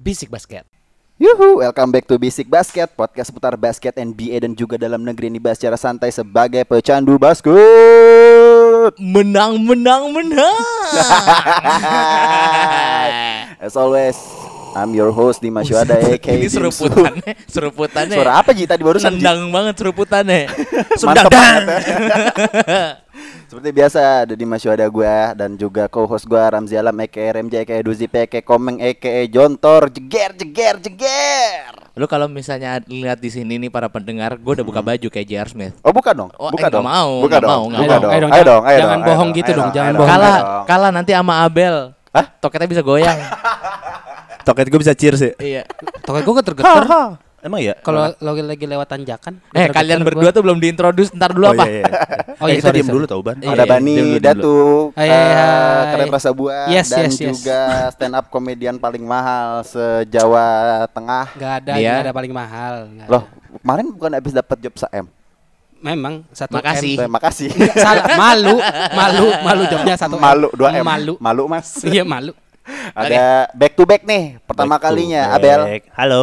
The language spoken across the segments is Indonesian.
Bisik Basket. Yuhu, welcome back to Basic Basket, podcast seputar basket NBA dan juga dalam negeri yang dibahas secara santai sebagai pecandu basket. Menang, menang, menang. As always, I'm your host Dimas Yuada Nah. aka Ini Dimsu. seruputannya, Eh, seruputannya. Suara apa Ji tadi barusan? Ji? Nendang banget seruputannya. Sendang Mantap banget ya. Seperti biasa ada Dimas Yuada gue dan juga co-host gue Ramzi Alam aka RMJ aka Duzi aka Komeng aka Jontor jeger jeger jeger. Lu kalau misalnya lihat di sini nih para pendengar, gue udah buka baju kayak J.R. Smith. Oh bukan dong, Oh, eh, bukan nggak dong, mau, bukan nggak dong, mau, nggak bukan mau. dong, Eh, dong, ayo jangan- dong, ayo jangan dong, ayo bohong dong, gitu ayo dong, ayo jangan dong. bohong. Kalah, Ayo dong. kalah nanti sama Abel. Hah? Toketnya bisa goyang. Toket gue bisa cheers ya. iya. Toket gue ketergeter Emang ya? kalau lo lagi lewat tanjakan. Eh, kalian berdua tuh belum diintroduce, ntar dulu apa? Oh, Oh iya, iya, kita sorry, diem sorry. dulu tau ban. Iya, ada iya, Bani diem dulu, diem Datu, Hai, eh, hai. keren rasa buah Iya, Yes, dan yes, yes. juga stand up komedian paling mahal se Jawa Tengah. Gak ada, Iya. nggak ada paling mahal. nggak ada. Loh, kemarin bukan habis dapat job Eh, saem. Memang satu Makasih. M. Terima kasih. Nggak, Salah, malu, malu, malu jawabnya Iya, satu M. Malu 2 M. Malu. Malu Mas. Iya, malu. Ada back to back nih pertama Back to kalinya back. Abel. Halo.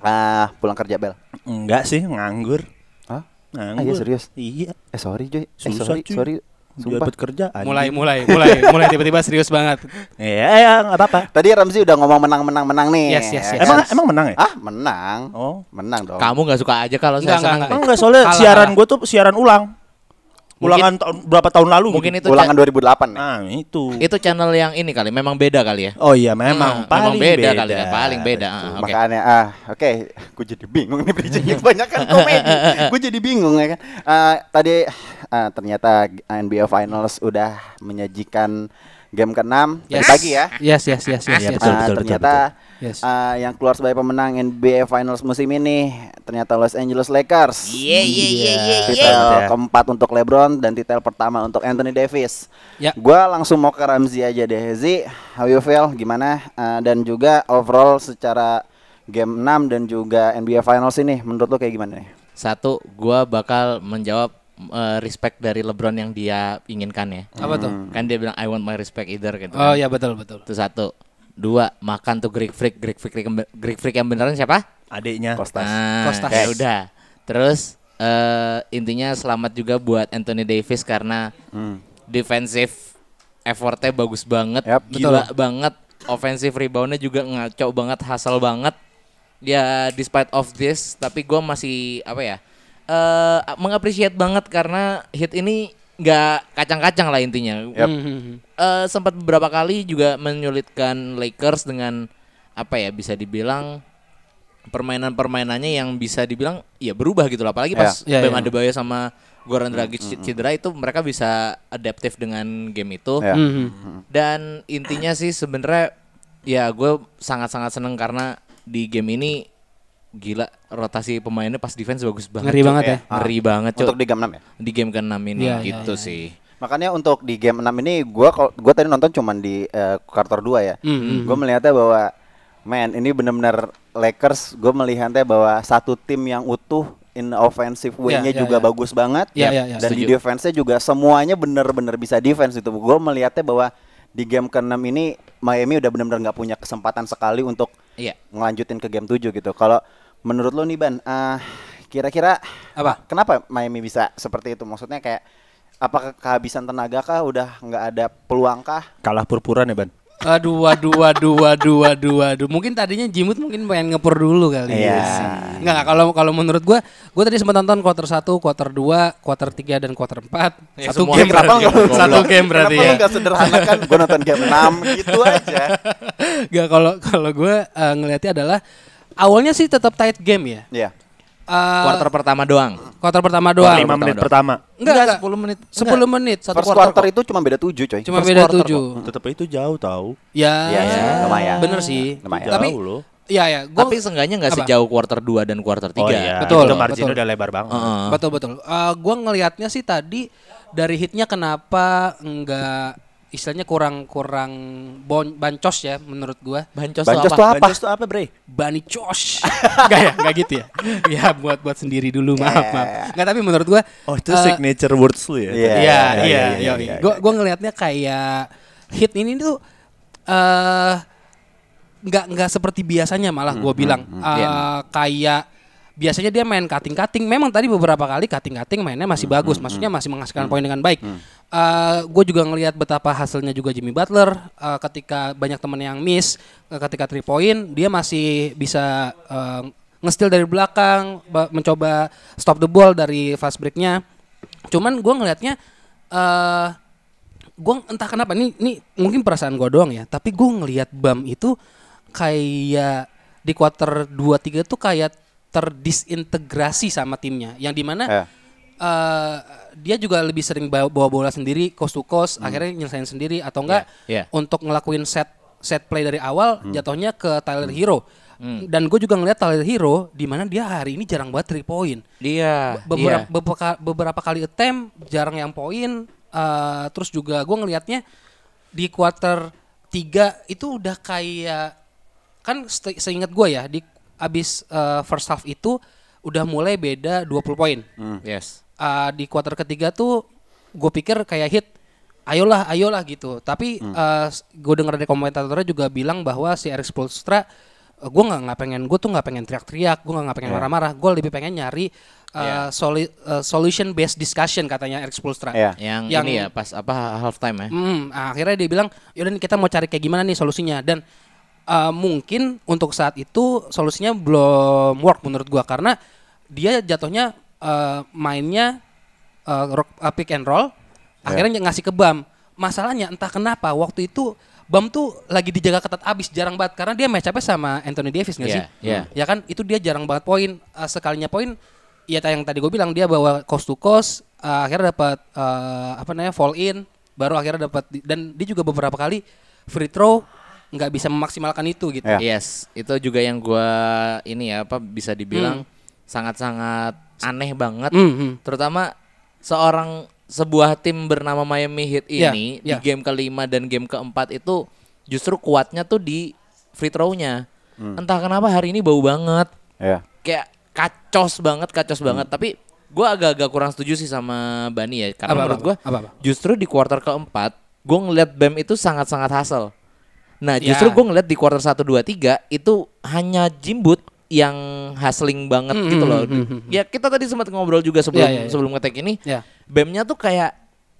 Ah, pulang kerja Bel. Enggak sih, nganggur. Hah? Ah, Nganggur. iya, serius? Iya. Eh sorry Joy. Eh Susah, sorry, cuy. sorry. Sumpah. Dapat kerja. anjing. Mulai, mulai, mulai, mulai tiba-tiba serius banget. Iya, iya, nggak apa-apa. Tadi Ramzi udah ngomong menang menang menang nih. Yes, yes, ya kan? yes. Emang emang menang ya? ah menang. Oh. Menang dong. Kamu nggak suka aja kalau saya Nggak, nggak, senang. Emang enggak soalnya Kalah, siaran kalah. gue tuh siaran ulang. Ulangan tahun berapa tahun lalu? Mungkin gitu. itu Ulangan 2008 nih. Ah, itu. itu channel yang ini kali, memang beda kali ya. Oh iya, Ah, memang paling memang beda, kali ya, paling beda. Ah, oke. Makanya ah oke, gue jadi bingung nih bridgingnya banyak kan komedi. gue jadi bingung ya kan. Ah, tadi ah, ternyata NBA Finals udah menyajikan game ke-6 tadi Yes. pagi ya. Yes, yes, yes, yes. Iya, yes. betul. Ah, ternyata Yes. ah, yang keluar sebagai pemenang NBA Finals musim ini ternyata Los Angeles Lakers. Iya, iya, iya, iya, Titel Iya. keempat untuk LeBron dan titel pertama untuk Anthony Davis. Ya. Gua langsung mau ke Ramzi aja deh, Zi. How you feel? Gimana? Eh, dan juga overall secara game 6 dan juga NBA Finals ini menurut lo kayak gimana nih? Satu, gua bakal menjawab eh, respect dari LeBron yang dia inginkan ya. Apa tuh? Kan dia bilang I want my respect either gitu. Oh kan. ya betul betul. Itu satu. Dua, makan tuh Greek freak, Greek freak, yang be- Greek freak yang beneran siapa? Adiknya. Kostas. Nah, Kostas. ya udah. Terus eh, intinya selamat juga buat Anthony Davis karena Hmm. defensive effortnya bagus banget, Yap, gila banget, offensive reboundnya juga ngaco banget, hasil banget. Ya despite of this, tapi gua masih apa ya? eh mengapresiat banget karena hit ini nggak kacang-kacang lah intinya. Mhm. Eh, sempat beberapa kali juga menyulitkan Lakers dengan apa ya bisa dibilang permainan-permainannya yang bisa dibilang ya berubah gitu loh apalagi pas Ya. Ya, Bam ya. Adebayo sama Goran Dragic cedera itu mereka bisa adaptif dengan game Oh, itu hmm, Ya. Mhm. dan intinya sih sebenarnya ya gue sangat-sangat seneng karena di game ini gila rotasi pemainnya pas defense bagus banget Ngeri Cok. banget ya. ngeri banget cok Untuk di game 6 ya. di game ke-6 ini Ya, ya, gitu ya, ya. sih Makanya untuk di game 6 ini gua kalau gua tadi nonton cuman di eh, quarter 2 ya. Mhm. Gue melihatnya bahwa man ini benar-benar Lakers gue melihatnya bahwa satu tim yang utuh in offensive way-nya Ya, ya, juga ya. bagus banget Ya, ya, ya. dan di Setuju. defense-nya juga semuanya benar-benar bisa defense itu. Gue melihatnya bahwa di game ke-6 ini Miami udah benar-benar nggak punya kesempatan sekali untuk iya ngelanjutin ke game 7 gitu. Kalau menurut lo nih Ban, ah, kira-kira Apa? kenapa Miami bisa seperti itu? Maksudnya kayak apakah kehabisan tenaga kah? Udah nggak ada peluang kah? Kalah purpuran ya, Ban. Aduh, aduh, aduh, aduh, aduh, aduh. Mungkin tadinya Jimut mungkin pengen ngepur dulu kali. ya Iya. Enggak, enggak. kalau kalau menurut gua, gua tadi sempat nonton quarter 1, quarter 2, quarter 3 dan quarter 4. Ya, satu semua game game berarti. berarti. nggak- Satu game berarti Kenapa ya. lu nggak sederhanakan gue nonton game 6 gitu aja. Enggak, kalau kalau gua eh, ngelihatnya adalah awalnya sih tetap tight game ya. Iya. Eh, quarter pertama doang quarter pertama doang. 5 menit pertama. Enggak, enggak. 10 menit 10 menit satu First quarter, quarter. itu cuma beda 7 coy. Cuma First beda quarter. 7. Tetap itu jauh tahu. Ya. Iya, iya, lumayan. Bener sih. Lumayan. Tapi Jauh loh. Iya, ya. Gua Tapi seenggaknya nggak Apa? sejauh quarter 2 dan quarter 3 Betul, Oh, iya. Itu margin betul. udah lebar banget. Hmm. Betul betul. Eh gua ngelihatnya sih tadi dari hitnya kenapa enggak istilahnya kurang kurang bon, bancos ya menurut gua. Bancos, Bancos tuh tuh apa? apa? Bancos tuh apa, Eh, Bre? Bani cos. Enggak ya, enggak gitu ya. Ya buat buat sendiri dulu maaf maaf. Enggak tapi menurut gua Oh, itu eh, signature words lu Iya. ya. Iya, iya, iya, iya. iya, Gue gue ngelihatnya kayak hit ini tuh eh nggak nggak seperti biasanya malah gue bilang Eh, iya. kayak biasanya dia main cutting-cutting. Memang tadi beberapa kali cutting-cutting mainnya masih bagus, maksudnya masih menghasilkan poin dengan baik. gue juga ngelihat betapa hasilnya juga Jimmy Butler eh, ketika banyak temen yang miss, eh, ketika three point dia masih bisa eh, nge-steal dari belakang, ba- mencoba stop the ball dari fast breaknya. Cuman gue ngelihatnya eh gue entah kenapa nih nih mungkin perasaan gue doang ya tapi gue ngelihat bam itu kayak di quarter 2-3 tuh kayak terdisintegrasi sama timnya yang dimana Eh. eh, dia juga lebih sering bawa, bawa bola sendiri coast to coast akhirnya nyelesain sendiri atau enggak Iya, iya. untuk ngelakuin set set play dari awal jatuhnya ke Tyler Hero Hmm. dan gue juga ngeliat Tyler Hero dimana dia hari ini jarang banget three point Dia iya. beberapa beberapa, beberapa kali attempt jarang yang poin eh, terus juga gue ngelihatnya di quarter 3 itu udah kayak kan se- seingat gue ya di abis eh, first half itu udah mulai beda 20 poin Hmm. Yes. Uh, di kuarter ketiga tuh gue pikir kayak hit ayolah ayolah gitu tapi gue denger dari komentatornya juga bilang bahwa si Eric Spoelstra gue nggak nggak pengen gue tuh nggak pengen teriak-teriak gue nggak pengen marah-marah gue lebih pengen nyari uh, solution based discussion katanya Eric Spoelstra Iya. Yang, Yang- ini ya pas apa halftime ya. Hmm, ah, akhirnya dia bilang, yaudah nih kita mau cari kayak gimana nih solusinya dan eh, mungkin untuk saat itu solusinya belum work menurut gua karena dia jatuhnya eh, mainnya eh, rock- eh, pick and roll, Ya. akhirnya ngasih ke Bam. Masalahnya entah kenapa waktu itu Bam tuh lagi dijaga ketat abis jarang banget karena dia match up-nya sama Anthony Davis nggak sih? Iya, Ya kan itu dia jarang banget poin. Eh, sekalinya poin ya yang tadi gue bilang dia bawa cost to cost eh, akhirnya dapat eh, apa namanya fall in baru akhirnya dapat di- dan dia juga beberapa kali free throw nggak bisa memaksimalkan itu gitu. Ya. Yes, itu juga yang gua ini ya apa bisa dibilang sangat-sangat aneh banget. Hmm, hmm. Terutama seorang sebuah tim bernama Miami Heat Iya, ini di iya. game kelima dan game keempat itu justru kuatnya tuh di free throw-nya. Entah kenapa hari ini bau banget. Ya. Kayak kacos banget, kacos Hmm. banget. Tapi gua agak-agak kurang setuju sih sama Bani ya karena Apa, apa, menurut apa? gua Apa, apa? justru di quarter keempat gue ngelihat Bam itu sangat-sangat hasil. Nah Ya. justru gue ngelihat di quarter 1, 2, 3 itu hanya Jimbut yang hustling banget Hmm, gitu hmm, loh. hmm, Ya kita tadi sempat ngobrol juga sebelum Ya, ya, ya. sebelum ngetek ini. Ya. Bamnya tuh kayak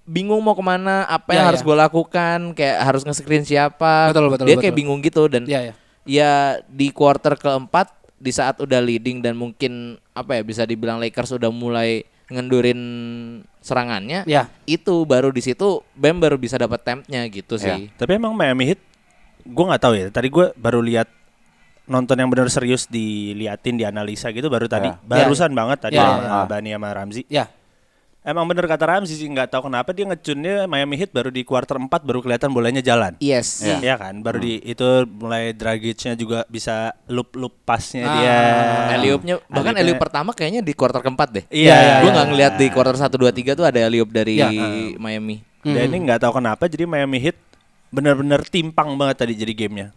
bingung mau kemana, apa yang Ya, harus ya. gue lakukan, kayak harus nge-screen siapa. Betul, betul, Dia kayak betul. bingung gitu dan Ya, ya. ya di quarter keempat di saat udah leading dan mungkin apa ya bisa dibilang Lakers udah mulai ngendurin serangannya Ya. itu baru di situ Bam baru bisa dapat tempnya gitu sih Ya. Tapi emang Miami Heat gue nggak tahu ya. Tadi gue baru lihat nonton yang benar serius diliatin dianalisa gitu baru tadi Ya. barusan banget tadi Ya, sama ya, ya. Bani sama Ramzi. Ya. Emang bener kata Ramzi sih nggak tahu kenapa dia ngecunnya Miami Heat baru di quarter 4 baru kelihatan bolanya jalan. yes Iya Ya. kan, baru di itu mulai Dragic-nya juga bisa loop-loop pasnya Ah. dia. Eliupnya bahkan Alley-oopnya- Eliup pertama kayaknya di quarter keempat deh Iya, iya, gue iya. nggak ngeliat di quarter 1, 2, 3 tuh ada Eliup dari Ya. Miami Dan ini nggak tahu kenapa jadi Miami Heat benar-benar timpang banget tadi jadi gamenya.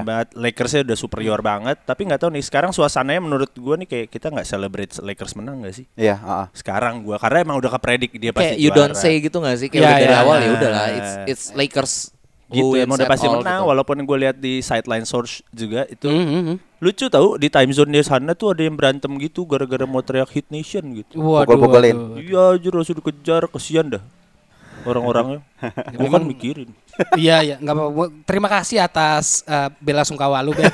Iya. Ya. banget Lakersnya udah superior banget, tapi nggak tahu nih sekarang suasananya menurut gua nih kayak kita nggak celebrate Lakers menang nggak sih? Iya, heeh. Sekarang gua karena emang udah kepredik dia kayak pasti you juara. don't say gitu gak sih kayak Ya, udah dari ya. awal ya udahlah it's it's Lakers gitu who emang wins udah at pasti all menang gitu. walaupun gue lihat di sideline source juga itu Hmm, hmm, hmm. lucu tahu di time zone dia sana tuh ada yang berantem gitu gara-gara mau teriak hit nation gitu Waduh, Pukul-pukulin. waduh. iya anjir harus dikejar kesian dah orang-orangnya gue kan mikirin Iya iya nggak apa-apa. Gua- Terima kasih atas eh, bela sungkawa lu Bel.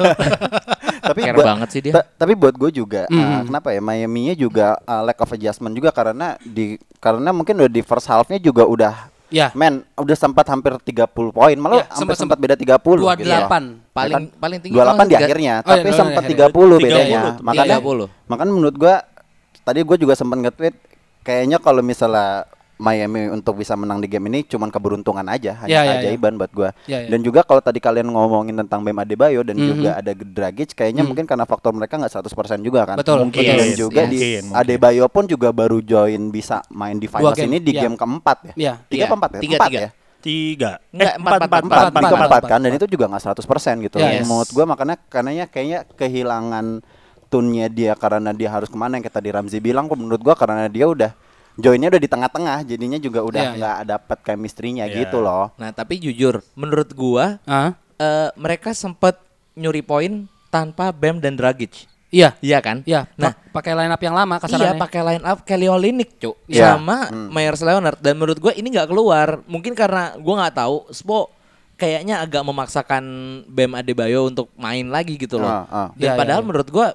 tapi Care buat- banget sih dia. ta- tapi buat gue juga Hmm. uh, kenapa ya Miami-nya juga uh, lack of adjustment juga karena di karena mungkin udah di first half-nya juga udah ya. men udah sempat hampir 30 poin malah Ya, hampir sempat- sempat beda 30 28. gitu ya. paling Ya kan? paling tinggi 28 di kalau nggak- akhirnya, Oh, iya, tapi iya, sempat iya, iya. 30 30, bedanya. tuh. Makanya 30. makanya menurut gua tadi gua juga sempat nge-tweet kayaknya kalau misalnya Miami untuk bisa menang di game ini cuman keberuntungan aja, hanya Iya, iya, keajaiban buat gua. Iya, iya. Dan juga kalau tadi kalian ngomongin tentang Bam Adebayo dan juga ada Dragic kayaknya mungkin karena faktor mereka nggak 100% juga kan. Betul, Mungkin betul. dan Yes, juga yes. di Mungkin, mungkin. Adebayo pun juga baru join bisa main di Dua finals game, ini di iya. game keempat ya. Iya. Tiga Iya, apa empat ya? tiga, Empat tiga. ya? tiga Nggak, empat, empat, eh, empat, empat, tiga empat, empat empat, kan dan itu juga nggak 100% gitu Yes. menurut gua makanya karenanya kayaknya kehilangan tunnya dia karena dia harus kemana yang tadi Ramzi bilang kok menurut gua karena dia udah joinnya udah di tengah-tengah jadinya juga udah Iya, nggak dapet chemistry-nya Iya. gitu loh Nah, tapi jujur menurut gua Ah. eh, mereka sempat nyuri poin tanpa Bam dan Dragic. Iya. Iya kan? Iya, Nah, pa- pakai line up yang lama Iya kasarannya. pakai line up Kelly Olynyk cuk Iya. sama Myers Leonard dan menurut gue ini nggak keluar mungkin karena gue nggak tahu Spo kayaknya agak memaksakan Bam Adebayo untuk main lagi gitu loh. Ah, ah. Dan Iya, iya, padahal iya. menurut gue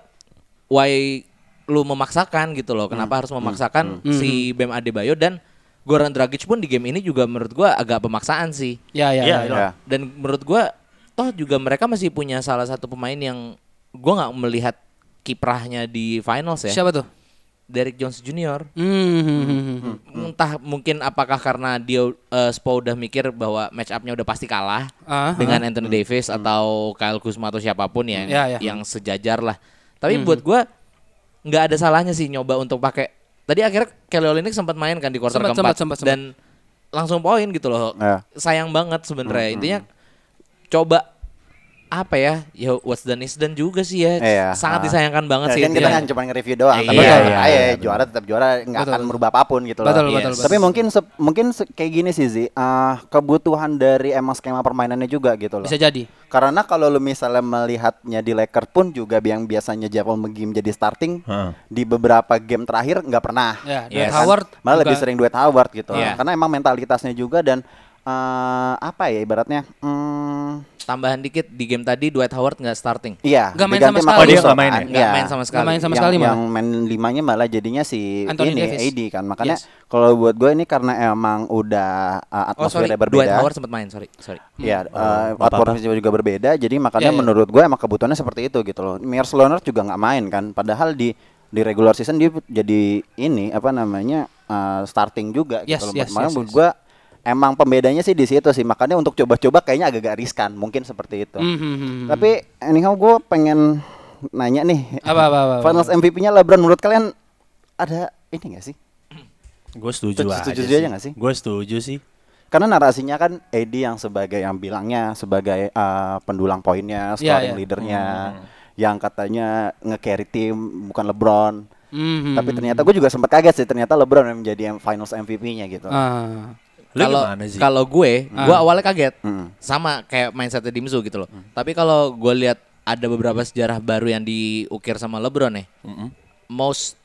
why lu memaksakan gitu loh. Kenapa Hmm. harus memaksakan si Bam Adebayo dan Goran Dragic pun di game ini juga menurut gue agak pemaksaan sih. Iya, iya, Iya, iya. iya. Ya. Dan menurut gua toh juga mereka masih punya salah satu pemain yang gua nggak melihat kiprahnya di finals ya. Siapa tuh? Derrick Jones Junior. Hmm, hmm, hmm, hmm. Entah mungkin apakah karena dia eh, Spo udah mikir bahwa match up-nya udah pasti kalah Ah, dengan Anthony Davis atau Kyle Kuzma atau siapapun ya Ya, Hmm. ya. yang sejajar lah. Tapi buat gua nggak ada salahnya sih nyoba untuk pakai. Tadi akhirnya Kelly Olynyk sempat main kan di quarter Sempat, keempat sempat, sempat, sempat. Hmm, dan langsung poin gitu loh. Ya. Sayang banget sebenarnya. Intinya coba apa ya? Ya what's done is done juga sih ya. Iya. Sangat Ah. disayangkan banget Ya, sih. kan kita intinya. kan cuma nge-review doang. Tapi Iya, kan, iya, ayo, iya, juara tetap juara nggak Betul. akan merubah apapun gitu Betul, loh. Yes. betul, betul. Tapi mungkin se- mungkin se- kayak gini sih Zi, eh, kebutuhan dari emang skema permainannya juga gitu loh. bisa jadi. Karena kalau lu misalnya melihatnya di Lakers pun juga yang biasanya Javel McGee menjadi starting Heeh. di beberapa game terakhir nggak pernah. kan? Ya, Yes. Dwight Howard Malah lebih juga- sering duet Howard gitu. Iya. Karena emang mentalitasnya juga dan eh, apa ya ibaratnya hmm, Tambahan dikit di game tadi Dwight Howard nggak starting. Iya, Nggak main diganti sama sekali. Oh, dia Caruso nggak main kan, ya? Nggak iya. main sama sekali. Nggak main sama yang, sekali malah. yang main limanya malah jadinya si Anthony ini Davis. AD kan. Makanya Yes. kalau buat gue ini karena emang udah Oh uh, sorry, atmosfernya Dwight berbeda. Howard sempat main, sorry, sorry. Ya, Oh, nggak apa-apa. atmosfernya juga berbeda. Jadi makanya Iya, iya. menurut gue emang kebutuhannya seperti itu gitu loh. Myers Leonard juga nggak main kan. Padahal di di regular season dia jadi ini apa namanya uh, starting juga Yes, gitu loh. yes, makanya yes, menurut yes. gue emang pembedanya sih di situ sih. Makanya untuk coba-coba kayaknya agak-agak riskan. Mungkin seperti itu. Hmm, hmm, hmm, hmm. Tapi anyhow gue pengen nanya nih. Apa, apa, apa, apa? Finals MVP-nya LeBron menurut kalian ada ini gak sih? Gue setuju Setuju- aja. setuju aja nggak sih? Gue setuju sih. Karena narasinya kan Edi yang sebagai yang bilangnya sebagai eh, pendulang poinnya, Iya, scoring iya. leadernya, yang katanya nge-carry tim bukan LeBron. Hmm, hmm, Tapi hmm. ternyata gue juga sempat kaget sih ternyata LeBron yang menjadi yang Finals MVP-nya gitu. Ah. Lu Kalau gimana sih? Hmm. kalau gue, gue awalnya kaget, Mm. sama kayak mindsetnya Dimsu gitu loh. Tapi kalau gue lihat ada beberapa sejarah baru yang diukir sama LeBron nih, Hmm. most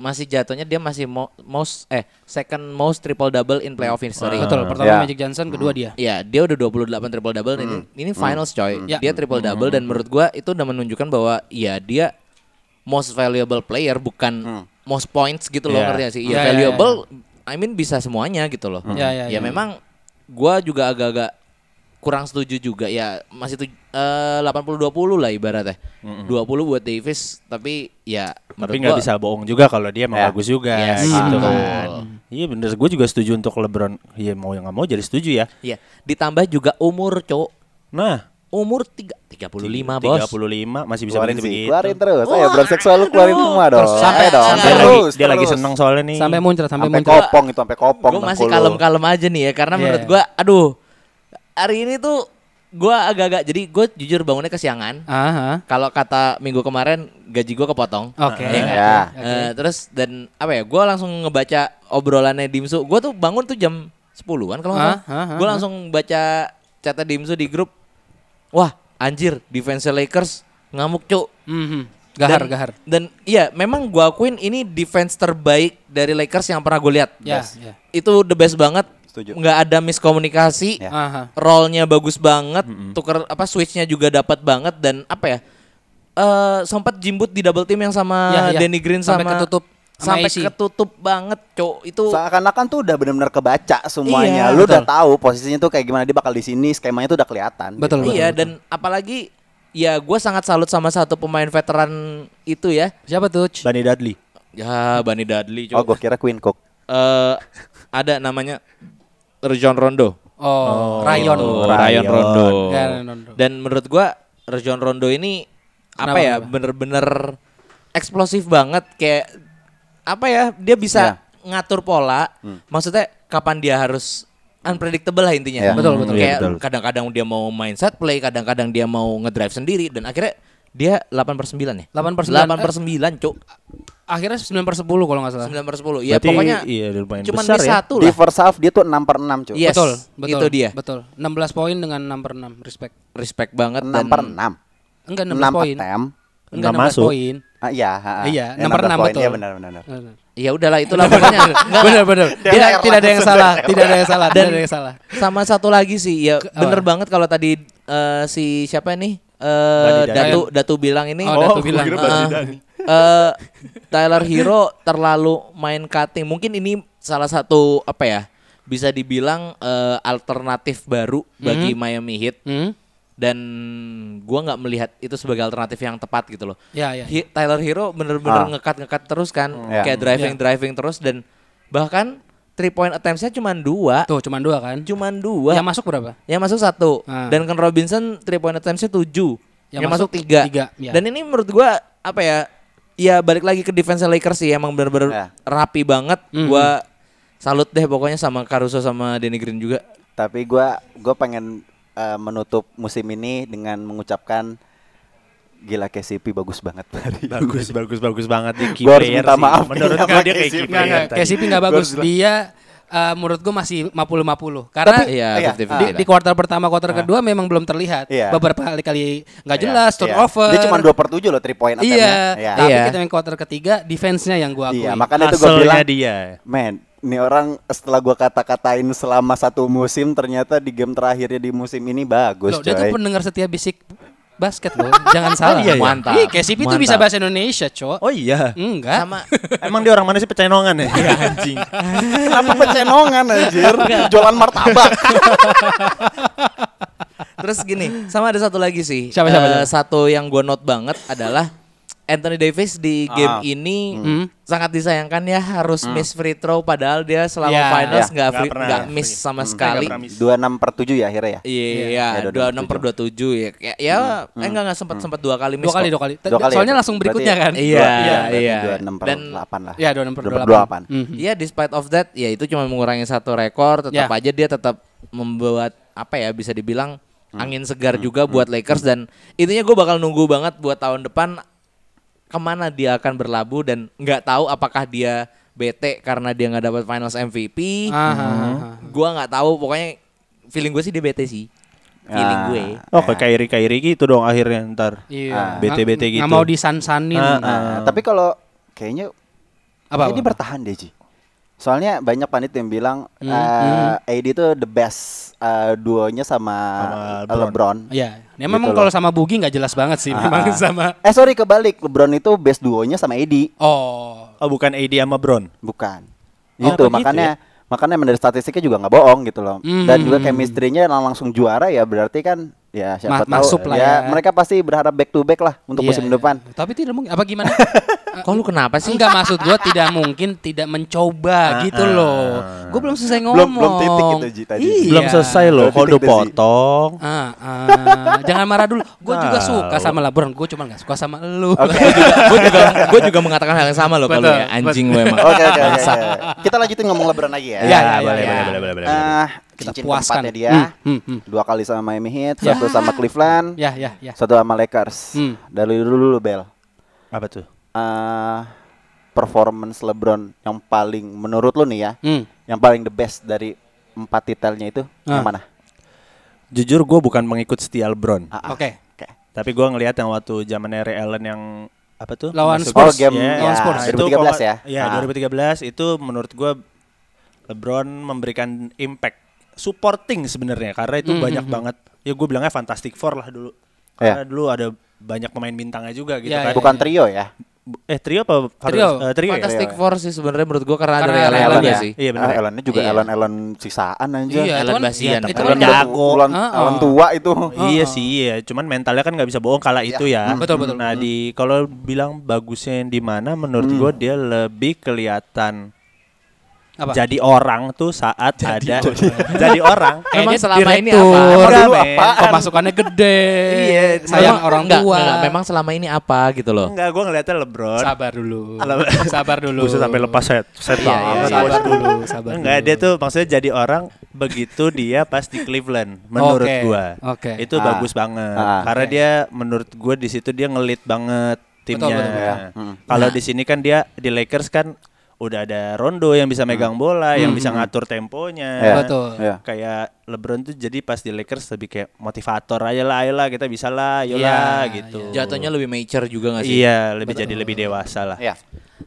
masih jatuhnya dia masih mo- most eh second most triple double in playoff history. Betul, Ya. pertama Magic Johnson, kedua dia. Ya, dia udah 28 triple double ini ini finals coy. Ya. Dia triple double dan menurut gua itu udah menunjukkan bahwa ya dia most valuable player bukan most points gitu loh Ya. ngerti nggak sih? Ya, Ya, ya, ya, valuable I mean bisa semuanya gitu loh. Ya, ya, ya. memang gua juga agak-agak kurang setuju juga ya masih tuj- eh, 80-20 lah ibaratnya. 20 buat Davis tapi ya Tapi menurut nggak gua- Iya bisa bohong juga kalau dia emang Ya. bagus juga Yes, gitu betul. kan. Iya bener, gue juga setuju untuk LeBron. Iya mau yang nggak mau jadi setuju ya. ya ditambah juga umur, cowok. Nah, Umur tiga- 35, Bos. 35 masih bisa keluarin begitu sih, begitu. keluarin terus. Ayo bro seksual lu keluarin semua dong. Terus sampai Ayo dong. Dia lagi, terus, dia lagi terus. seneng soalnya nih. Sampai muncrat, sampai Sampai muncrat. kopong itu sampai kopong. Gue masih dengkul lu. kalem-kalem aja nih ya karena Iya. menurut gua aduh hari ini tuh gua agak-agak jadi gue jujur bangunnya kesiangan. Ah, ah. Kalau kata minggu kemarin gaji gua kepotong. Oke. Iya kan? Ya. Eh, terus dan apa ya? Gua langsung ngebaca obrolannya Dimsu. Gua tuh bangun tuh jam 10-an kalau nggak Ah, salah. ah, ah, Gua ah. langsung baca catatan Dimsu di grup. Wah, anjir, defense Lakers ngamuk, Cuk. Hmm, hmm. Gahar, Dan- gahar. Dan iya, memang gua akuin ini defense terbaik dari Lakers yang pernah gue lihat. Ya, Best. ya. Itu the best banget. Setuju. Nggak ada miskomunikasi. Ya. Ah, ah. Rollnya bagus banget, tuker apa switchnya juga dapat banget dan apa ya? eh sempat jimbut di double team yang sama Ya, ya. Danny Green sama Sampai ketutup sama sampai AC. ketutup banget, Cok. Itu Seakan-akan tuh udah benar-benar kebaca semuanya. Iya, lu betul. udah tahu posisinya tuh kayak gimana dia bakal di sini, skemanya tuh udah kelihatan. Betul, betul. iya dan apalagi ya gue sangat salut sama satu pemain veteran itu ya. Siapa tuh? Ci? Bunny Dudley. Ya, Bani Dudley, Oh, Cok. gue kira Queen Cook. Eh, ada namanya Rajon Rondo. Oh, Rayon. Oh, Rayon Rayon Rondo. Rayon Rondo. Dan menurut gua Rajon Rondo ini Kenapa, apa ya kenapa? bener-bener eksplosif banget kayak apa ya dia bisa ngatur pola. Hmm. Maksudnya kapan dia harus unpredictable lah intinya. Iya. Betul, betul. Kayak Iya, betul. kadang-kadang dia mau main set play, kadang-kadang dia mau ngedrive sendiri dan akhirnya dia 8 per 9 ya? 8 per 9. 8 9, per 9, Cuk. Akhirnya 9 per 10 kalau nggak salah. 9 per 10. Ya Berarti pokoknya iya, lumayan cuman besar di ya. satu Di lah. first half dia tuh 6 per 6 cuy. Iya, Yes, betul, betul. itu dia. Betul. 16 poin dengan 6 per 6. Respect. Respect banget 6 dan per 6. Enggak 16 enam poin. attempt. Enggak Nggak 16 masuk. poin. Ah, iya, ha, ha. Iya, Ya, nomor 16 enam, poin. betul. Iya benar benar. benar. Ya udahlah itulah pokoknya. Enggak, Benar benar. Dia Tidak layar tidak ada yang langsung, salah, dia tidak ada yang salah, tidak Dan- ada yang salah. Sama satu lagi sih, ya bener banget kalau tadi eh, si siapa nih? eh Dani Dayan. Datu Datu bilang ini Oh, Datu gua bilang. kira Eh, Bang Zidane. eh, Tyler Hero terlalu main cutting. Mungkin ini salah satu apa ya? Bisa dibilang eh, alternatif baru bagi Miami Heat Hmm? dan gua nggak melihat itu sebagai alternatif yang tepat gitu loh. Ya ya. Hi- Tyler Hero bener-bener Ah. ngekat ngekat terus kan, Ya. kayak driving driving terus dan bahkan three point attempts-nya cuma dua, Tuh cuman dua kan? cuma dua. Yang masuk berapa? Yang masuk satu Ah. dan Ken Robinson three point attempts-nya tujuh. Yang Yang, masuk masuk tiga. tiga, ya. Dan ini menurut gua apa ya? Ya balik lagi ke defense Lakers sih emang bener-bener Ya. rapi banget. Mhm. Gua salut deh pokoknya sama Caruso sama Danny Green juga. Tapi gua gua pengen eh, menutup musim ini dengan mengucapkan gila KCP bagus banget hari ini. bagus bagus bagus banget di key Gua harus player minta sih. maaf menurut nih gua sama dia kayak KCP. key Enggak Nggak, player enggak, tadi. KCP enggak Gua bagus. harus bilang. Dia eh, menurut gue masih 50-50 karena eh, ya, Iya, 50-50 di- di, lah. di kuartal pertama kuartal kedua memang belum terlihat Iya. beberapa kali kali nggak Iya, jelas iya. turnover Dia cuma 2 per 7 loh 3 point iya Iya. tapi Iya. kita yang kuartal ketiga defense-nya yang gua akui Iya, makanya itu gua Hustle-nya bilang dia Man, ini orang setelah gua kata-katain selama satu musim ternyata di game terakhirnya di musim ini bagus Loh, dia tuh coy. pendengar setia bisik basket loh jangan salah Iya, iya. Mantap. Ih, KCP tuh bisa Mantap. bahasa Indonesia cok oh iya enggak Sama emang dia orang mana sih pecenongan ya Iya, anjing Kenapa pecenongan anjir? Jualan martabak. Terus gini, sama ada satu lagi sih. Siapa, siapa, Eh, siapa? Satu yang gue note banget adalah Anthony Davis di game Ah. ini Hmm. sangat disayangkan ya harus miss free throw padahal dia selama Ya. finals Ya, nggak nggak free- pernah nggak free. miss sama Hmm. sekali. Nggak pernah miss. 26 per 7 ya akhirnya ya. Iya, Ya, dua enam per dua 27. tujuh ya. Ya, ya eh, nggak nggak sempat sempat dua kali miss dua kali kok. dua kali Dua kali ya, soalnya Cok? langsung berikutnya Berarti ya. Iya. kan Iya, iya, berarti iya. 26 per Dan- 8 lah. ya dua enam per dua 28. Iya, despite of that, ya itu cuma mengurangi satu rekor, tetap Mhm. Ya. aja dia tetap membuat apa ya bisa dibilang Hmm. angin segar juga buat Lakers dan intinya gue bakal nunggu banget buat tahun depan kemana dia akan berlabuh dan nggak tahu apakah dia bete karena dia nggak dapat Finals MVP. Ah. Gua nggak tahu, pokoknya feeling gue sih dia bete sih, feeling Ah. gue. oh kayak Kairi Kairi gitu dong akhirnya ntar Ah. Iya. BT-BT Nggak- gitu. nggak mau disansanin. Ah, ah. Hmm. Nah, tapi kalau kayaknya Kayaknya Apa, apa? dia bertahan deh, Ji. Soalnya banyak panit yang bilang Hmm, eh AD itu the best eh, duonya sama, Sama LeBron. Iya. Dia Gitu loh. memang kalau sama Bugi nggak jelas banget sih. Memang Ah. sama. Eh sorry kebalik, LeBron itu best duonya sama AD, Oh. oh bukan AD sama Bron bukan. Ya, Oh, Gitu, apa gitu makanya makanya dari statistiknya juga nggak bohong gitu loh. Dan Hmm. juga chemistry-nya lang- langsung juara ya berarti kan ya siapa Ma- tahu masuk lah ya, ya. mereka pasti berharap back to back lah untuk Iya, musim iya. depan. Tapi tidak mungkin. Apa gimana? Eh, Kok lu kenapa sih? Ah. Enggak maksud gua tidak mungkin tidak mencoba gitu loh. Gua belum selesai ngomong. Ah, Belum- belum titik gitu, Ji, tadi. Iya. belum selesai loh Berarti kode kita sih. potong Ah, ah. Jangan marah dulu. Gue Ah. juga Tahu. suka sama LeBron. Gue cuma nggak suka sama lu. gue juga gue juga mengatakan hal yang sama loh kalau Betul, Oh, ya anjing lo emang. Oke oke oke. oke. Kita lanjutin ngomong LeBron lagi ya. Iya, iya, Ya, iya, boleh iya. boleh boleh boleh boleh Ah, Kita cincin puaskan. keempatnya dia. Hmm, hmm, hmm. Dua kali sama Miami Heat, Ya. satu sama Cleveland, ya, ya, ya. satu sama Lakers. Hmm. Dari dulu dulu Bel. apa tuh Ah, performance LeBron yang paling menurut lu nih ya, Hmm. yang paling the best dari empat titelnya itu yang Ah. mana? jujur gue bukan mengikut setia LeBron Ah, ah. Oke. Oke. Tapi gua ngelihat yang waktu zamannya Ray Allen yang apa tuh? Lawan Masuk- Spurs. Oh, game- Lawan ya, Spurs. Itu 2013 kalau- ya? Iya, Ah. 2013 itu menurut gua LeBron memberikan impact supporting sebenarnya karena itu Hmm, banyak banget. Ya gue bilangnya Fantastic Four lah dulu. Karena dulu ada banyak pemain bintangnya juga gitu Ya, kan. ya, Ya. Bukan trio ya? Bu- Eh, trio apa? Trio. eh, trio ya? Fantastic Four sih sebenarnya menurut gue karena, iya, Karena ada Ray Allen Allen juga ya. sih. Iya, benar. Ah, Allen-nya juga Iya. Allen-Allen sisaan aja. Iya, itu Allen kan, Basian. itu Allen kan Allen udah jago. tu- Allen, Ah, ah. Allen tua itu. Iya sih, iya. Cuman mentalnya kan nggak bisa bohong kala itu ya. Betul, betul. Nah di kalau bilang bagusnya yang di mana, menurut gua dia lebih kelihatan Apa? jadi orang tuh saat ada jadi orang. Memang Kayaknya selama ini direktur. apa? Iya, Emang Enggak, dulu men. apaan? Pemasukannya gede. Sayang memang- orang enggak, tua. enggak, memang selama ini apa gitu loh. Enggak, gua ngeliatnya LeBron. Sabar dulu. Sabar. Sabar dulu. Buset, sampai lepas set. Set Iya, banget, iya, bos. sabar dulu, sabar. Enggak, dulu. dia tuh maksudnya jadi orang begitu dia pas di Cleveland menurut Oke, gua. oke. Itu Ah. bagus banget. Ah. Karena Oke. dia menurut gua di situ dia ngelit banget timnya. Nah, betul, Hmm. Nah. betul. Kalau di sini kan dia di Lakers kan udah ada Rondo yang Hmm. bisa megang bola, yang bisa ngatur temponya. Iya, Betul. iya. Kayak LeBron tuh jadi pas di Lakers lebih kayak motivator aja lah, ayolah kita bisa lah, yolah Iya, gitu. Jatuhnya lebih mature juga nggak sih? Iya, lebih jadi lebih dewasa lah. Iya.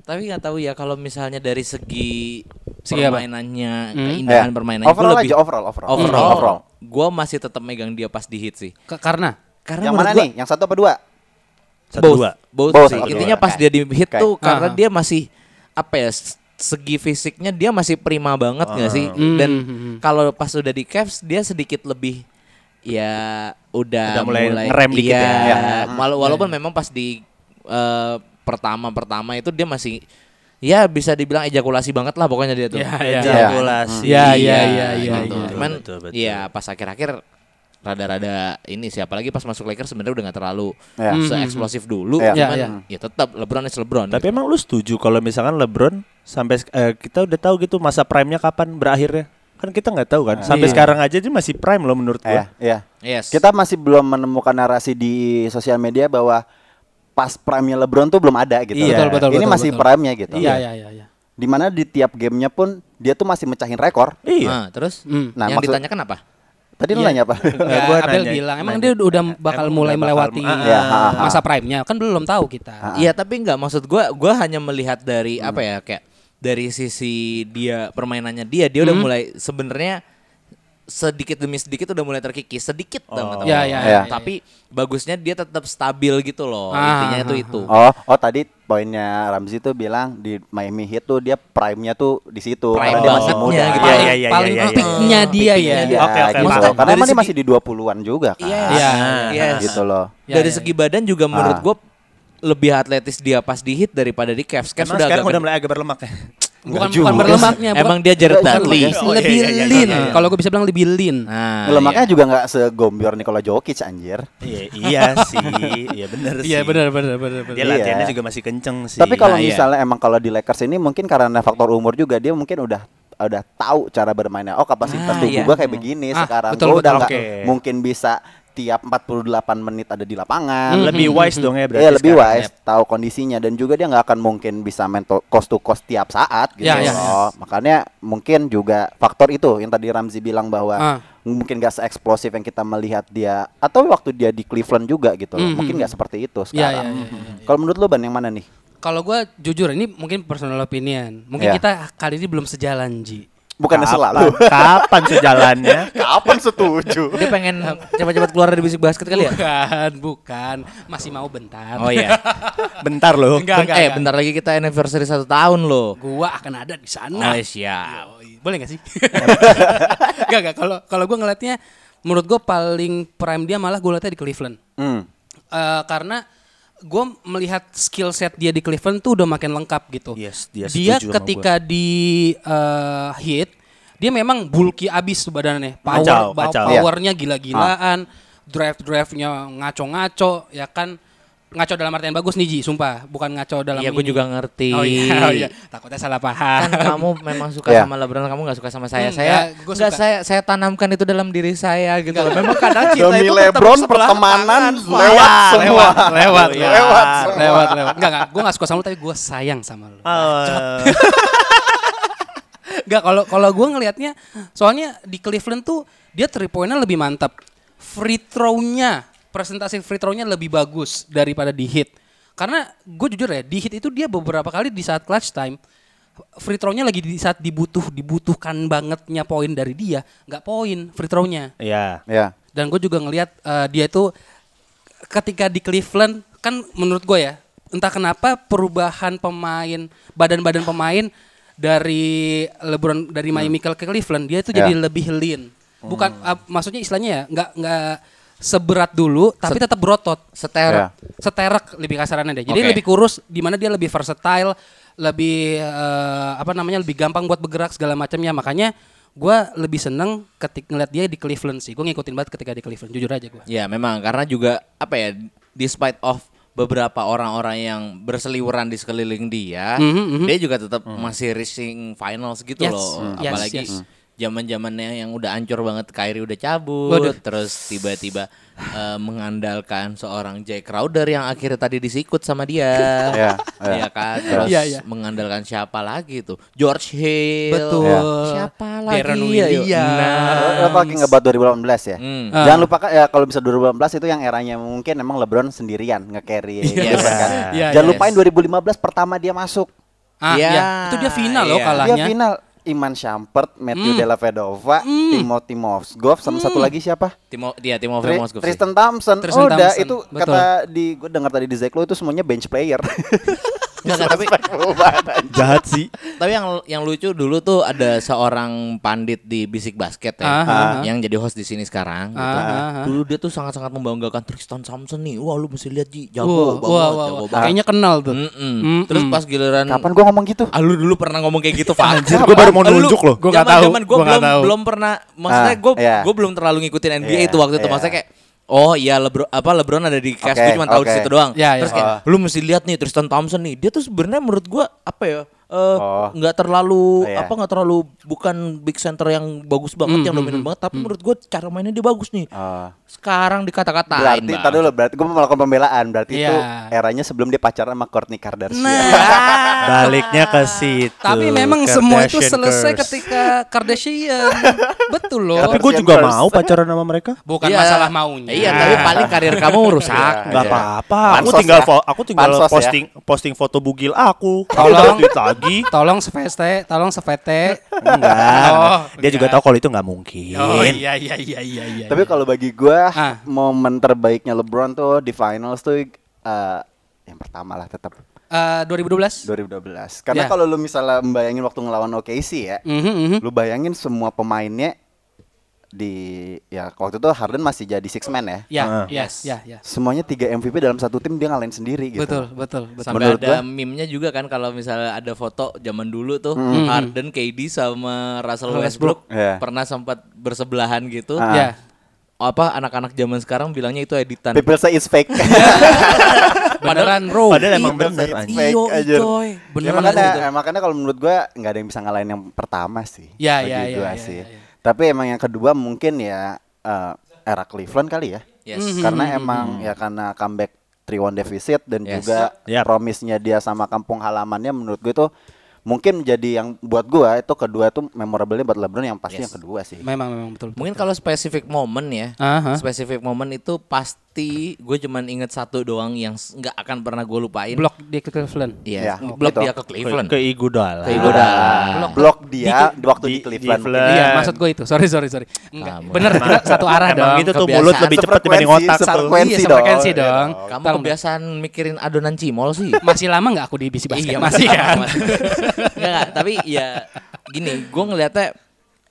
Tapi nggak tahu ya kalau misalnya dari segi, Segi apa? permainannya, keindahan Iya. permainannya gua Overall lebih- aja overall overall. overall, overall. gue masih tetap megang dia pas di hit sih. Ke- karena Karena Yang menurut mana gua- nih? Yang satu apa dua? Satu both, dua. Ah. both Both, sih. satu dua. Intinya pas dia di hit Oke. tuh karena Aha. dia masih apa ya s- segi fisiknya dia masih prima banget Ah. nggak sih? Hmm. Dan Hmm. kalau pas udah di Cavs dia sedikit lebih ya udah, Udah mulai ngerem dikit iya, ya. wala- walaupun memang pas di pertama pertama itu dia masih ya bisa dibilang ejakulasi banget lah pokoknya dia tuh. Iya, Ya, ya. Ejakulasi. Iya, iya, iya, iya, gitu. iya. Cuman Betul, betul. ya pas akhir-akhir rada-rada ini sih apalagi pas masuk Lakers sebenarnya udah nggak terlalu Iya. Ya. Hmm, se-eksplosif dulu Ya. cuman Ya, ya tetap LeBron is LeBron. Tapi emang lu setuju kalau misalkan LeBron sampai sek- eh, kita udah tahu gitu masa prime-nya kapan berakhirnya? Kan kita nggak tahu kan. Sampai Iya. sekarang aja dia masih prime loh menurut Iya, gua. iya. yes. Kita masih belum menemukan narasi di sosial media bahwa pas prime-nya LeBron tuh belum ada gitu. Iya. Betul, betul, Ini betul, masih betul. prime-nya gitu. iya iya iya iya. Dimana di tiap gamenya pun dia tuh masih mecahin rekor. Iya. Nah, terus Hmm. Nah, yang maksud- ditanyakan apa? Tadi lu Iya. nanya apa? Nggak, gua Ya, Abel nanya- bilang emang nanya. dia udah bakal Emang mulai udah bakal- melewati Ah, Ya, ha, ha. masa prime-nya kan belum tahu kita. Iya, tapi nggak maksud gua gua hanya melihat dari Hmm. apa ya kayak dari sisi dia permainannya dia dia udah Hmm. mulai sebenarnya sedikit demi sedikit udah mulai terkikis sedikit banget. Iya, iya, iya, Tapi bagusnya dia tetap stabil gitu loh. Ah, Intinya itu ah, itu. Oh, oh tadi poinnya Ramzi tuh bilang di Miami Heat tuh dia prime-nya tuh di situ Prime karena dia masih banget. muda. Iya, gitu. Paling, Iya, iya, paling iya, iya, iya. peaknya dia ya. Iya, Oke, oke, gitu. paham. Karena Dari masih segi- masih di 20-an juga kan. Iya. Iya. Yes. Gitu loh. Ya, dari ya, segi badan juga menurut Ah. gue lebih atletis dia pas di hit daripada di kan Cavs. Cavs Emang udah sekarang agak udah mulai agak berlemak ya. Bukan juga. bukan berlemaknya, bukan- Kan Emang dia Jared Bukan Dudley. berlemak Oh, iya, lebih iya, iya, lean. iya, iya. Kalau gue bisa bilang lebih lean. Nah, Lemaknya juga nggak segombior Nikola Jokic anjir. Iya, iya sih. Iya bener sih. benar benar Iya. Dia latihannya juga masih kenceng sih. Tapi kalau Nah, iya. misalnya emang kalau di Lakers ini mungkin karena faktor umur juga dia mungkin udah udah tahu cara bermainnya. Oh kapasitas Ah, tubuh iya. gua kayak begini Ah, sekarang. Gua betul, udah betul. nggak Oke. mungkin bisa tiap 48 menit ada di lapangan. lebih wise dong ya berarti. Iya lebih sekarang wise, tahu kondisinya dan juga dia nggak akan mungkin bisa main to- cost to cost tiap saat gitu Ya, ya. loh. Makanya mungkin juga faktor itu yang tadi Ramzi bilang bahwa Ah. mungkin nggak seeksplosif yang kita melihat dia atau waktu dia di Cleveland juga gitu loh. Mhm. Mungkin nggak seperti itu Iya, sekarang. Hmm. iya, iya, Kalau menurut lu Ban yang mana nih? Kalau gue jujur ini mungkin personal opinion. Mungkin Iya. kita kali ini belum sejalan Ji. Bukannya Kapan, selalu. kapan sejalannya? Kapan Ya, setuju? dia pengen cepat-cepat keluar dari bisik basket kali ya. Bukan, bukan. Masih mau bentar. Oh iya. Bentar loh. Enggak, Ben- enggak, eh, enggak. bentar lagi kita anniversary satu tahun loh. Gua akan ada di Nah, sana. siap. Yoi. Boleh gak sih? Gak gak. Kalau kalau gue ngelihatnya, menurut gue paling prime dia malah gue lihatnya di Cleveland. Hmm. Eh, karena gue melihat skill set dia di Cleveland tuh udah makin lengkap gitu. Yes, dia setuju sama ketika di eh, hit dia memang bulky abis tuh badannya. Power, Kacau, ba- kacau. Iya. powernya gila-gilaan, drive drive-nya ngaco-ngaco, ya kan ngaco dalam artian bagus nih Ji, sumpah, bukan ngaco dalam. Iya, gue ini. juga ngerti. Oh iya, oh iya. takutnya salah paham. Kan kamu memang suka Iya. sama LeBron, kamu nggak suka sama saya. Enggak, saya gua nggak suka. saya saya tanamkan itu dalam diri saya gitu loh. Memang kadang cinta Demi itu tetap LeBron sebelah pertemanan tangan, Pak. lewat Ah, semua. lewat, lewat, Oh, iya. lewat, semua. lewat, lewat. Enggak, enggak. Gue gak suka sama lu tapi gue sayang sama lu. Oh, Enggak, kalau kalau gue ngelihatnya, soalnya di Cleveland tuh dia three pointnya lebih mantap. Free throw-nya, presentasi free throw-nya lebih bagus daripada di hit. Karena gue jujur ya, di hit itu dia beberapa kali di saat clutch time, free throw-nya lagi di saat dibutuh dibutuhkan bangetnya poin dari dia, nggak poin free throw-nya. Iya. Ya. Dan gue juga ngelihat eh, dia itu ketika di Cleveland kan menurut gue ya entah kenapa perubahan pemain badan-badan pemain dari LeBron dari Miami ke ke Cleveland dia itu Ya. jadi lebih lean. Bukan ah, maksudnya istilahnya ya nggak nggak seberat dulu tapi tetap berotot Seterek. Ya. seterek lebih kasarannya deh. Jadi Oke. lebih kurus di mana dia lebih versatile, lebih eh, apa namanya lebih gampang buat bergerak segala macamnya. Makanya gua lebih seneng ketik ngeliat dia di Cleveland sih. Gue ngikutin banget ketika di Cleveland. Jujur aja gue. Ya memang karena juga apa ya despite of beberapa orang-orang yang berseliweran di sekeliling dia, Mhm, mhm. dia juga tetap masih reaching finals gitu Yes, loh. mm. Yes, Apalagi yes. zaman-zamannya yang udah ancur banget Kyrie udah cabut Waduh. terus tiba-tiba eh, mengandalkan seorang Jay Crowder yang akhirnya tadi disikut sama dia Iya, iya. ya kan terus Iya, iya. mengandalkan siapa lagi tuh George Hill Betul. Ya. siapa Darren lagi Williams. ya Lo pakai ngebat 2018 ya. Hmm. Jangan lupa Kak, ya kalau bisa 2018 itu yang eranya mungkin emang LeBron sendirian nge-carry Yes. gitu kan. Iya, Jangan yes. lupain 2015 pertama dia masuk. Ah, Iya. iya. Itu dia final loh Iya. kalahnya. Dia final Iman Shumpert, Hmm. Matthew Dellavedova, Timothy Mozgov sama satu lagi siapa? Timo dia Timo Tri- Moskov sih. Tristan Thompson. iya. Tristan udah Thompson, itu betul. Hmm. kata di gue dengar tadi di Zeklo itu semuanya bench player. Nggak, nggak, tapi Jahat sih. Tapi yang yang lucu dulu tuh ada seorang pandit di Bisik Basket ya, Ah, ah, yang jadi host di sini sekarang. gitu. Ah, ah, ah. Dulu dia tuh sangat-sangat membanggakan Tristan Thompson nih. Wah lu mesti lihat Ji, Wah, jago banget, wah, wah, jago wah. banget. Kayaknya kenal tuh. Mm-mm. Mm-mm. Terus pas giliran, Kapan gua ngomong gitu? ah lu dulu pernah ngomong kayak gitu, Pak. Anjir, gue baru mau nunjuk loh. Gua nggak tahu, Zaman gue gua nggak belum tahu. belum pernah, maksudnya Ah, gue iya. gue belum terlalu ngikutin NBA Iya, itu waktu itu. iya. Maksudnya kayak Oh iya Lebron apa Lebron ada di cast Oke, gue cuma tahu di oke. Oh. situ doang. Iya, iya. Terus kayak lu mesti lihat nih Tristan Thompson nih. Dia tuh sebenarnya menurut gua apa ya? eh, Oh. nggak terlalu Oh, iya. apa nggak terlalu bukan big center yang bagus banget yang dominan banget tapi menurut gua cara mainnya dia bagus nih Ah. sekarang dikata-katain Berarti, Bang. tadi dulu, berarti gue melakukan pembelaan. Berarti itu Iya. eranya sebelum dia pacaran sama Kourtney Kardashian. Baliknya ke situ. Nah. Tapi memang semua itu Kardashian selesai curse. ketika Kardashian. Betul loh. Tapi gue Kardashian juga curse. mau pacaran sama mereka. Bukan Iya. masalah maunya. Iya, tapi paling karir kamu rusak. gitu. Gak Iya. apa-apa. Aku Pansos tinggal ya. fo- aku tinggal Pansos ya. posting posting foto bugil aku. Aku Tolong. tweet lagi. Tolong sepete, tolong sepete. Enggak. Oh, Dia juga enggak. tahu kalau itu nggak mungkin. Oh iya iya iya iya iya. Tapi kalau bagi gua Ah. momen terbaiknya LeBron tuh di finals tuh eh, yang pertama lah tetap Eh, 2012. 2012. Karena Ya. kalau lu misalnya membayangin waktu ngelawan OKC ya, Mhm, mhm. lu bayangin semua pemainnya di ya waktu itu Harden masih jadi six man ya. Ya, Ah. ya, ya, ya. Semuanya tiga MVP dalam satu tim dia ngalahin sendiri gitu. Betul, betul, betul. Sampai Menurut ada gua- meme-nya juga kan kalau misalnya ada foto zaman dulu tuh Harden, KD sama Russell Westbrook, Hmm. Westbrook. Iya. pernah sempat bersebelahan gitu. Ah. Ya. Apa anak-anak zaman sekarang bilangnya itu editan. People say it's fake. Beneran bro. Iya. Padahal emang People say bener, it's anjing. fake, Iyo, anjir. coy. Ya, Beneran makanya, itu. makanya kalau menurut gua nggak ada yang bisa ngalahin yang pertama sih. Ya, bagi ya, ya, gua ya, sih. ya, ya. Tapi emang yang kedua mungkin ya eh, era Cleveland kali ya. Yes. Mhm. Karena Mhm. emang ya karena comeback 3-1 defisit dan Yes. juga Yap. promisnya dia sama kampung halamannya menurut gue itu mungkin jadi yang buat gua itu kedua itu memorable buat LeBron yang pasti Yes. yang kedua sih. Memang memang betul. Mungkin kalau spesifik momen ya, Aha. spesifik momen itu pasti gue cuman inget satu doang yang s- nggak akan pernah gue lupain. Blok di Cleveland. Iya, Ya, blok gitu. dia ke Cleveland. Ke Iguodala. Ke Iguodala. Blok, blok dia waktu di, di- di Cleveland. Cleveland. Iya, maksud gue itu. Sorry, sorry, sorry. Enggak, Kamu. bener Emang- satu arah emang dong. itu tuh Kebiasaan mulut lebih cepat dibanding sefrekuensi, otak tuh. sefrekuensi. Iya, dong. frekuensi Iya dong. Kamu Tahu nggak? kebiasaan mikirin adonan cimol sih. masih lama nggak aku di bisi basket? masih Mas. kan? Iya, Masih. Nggak, nggak, tapi ya gini, gue ngelihatnya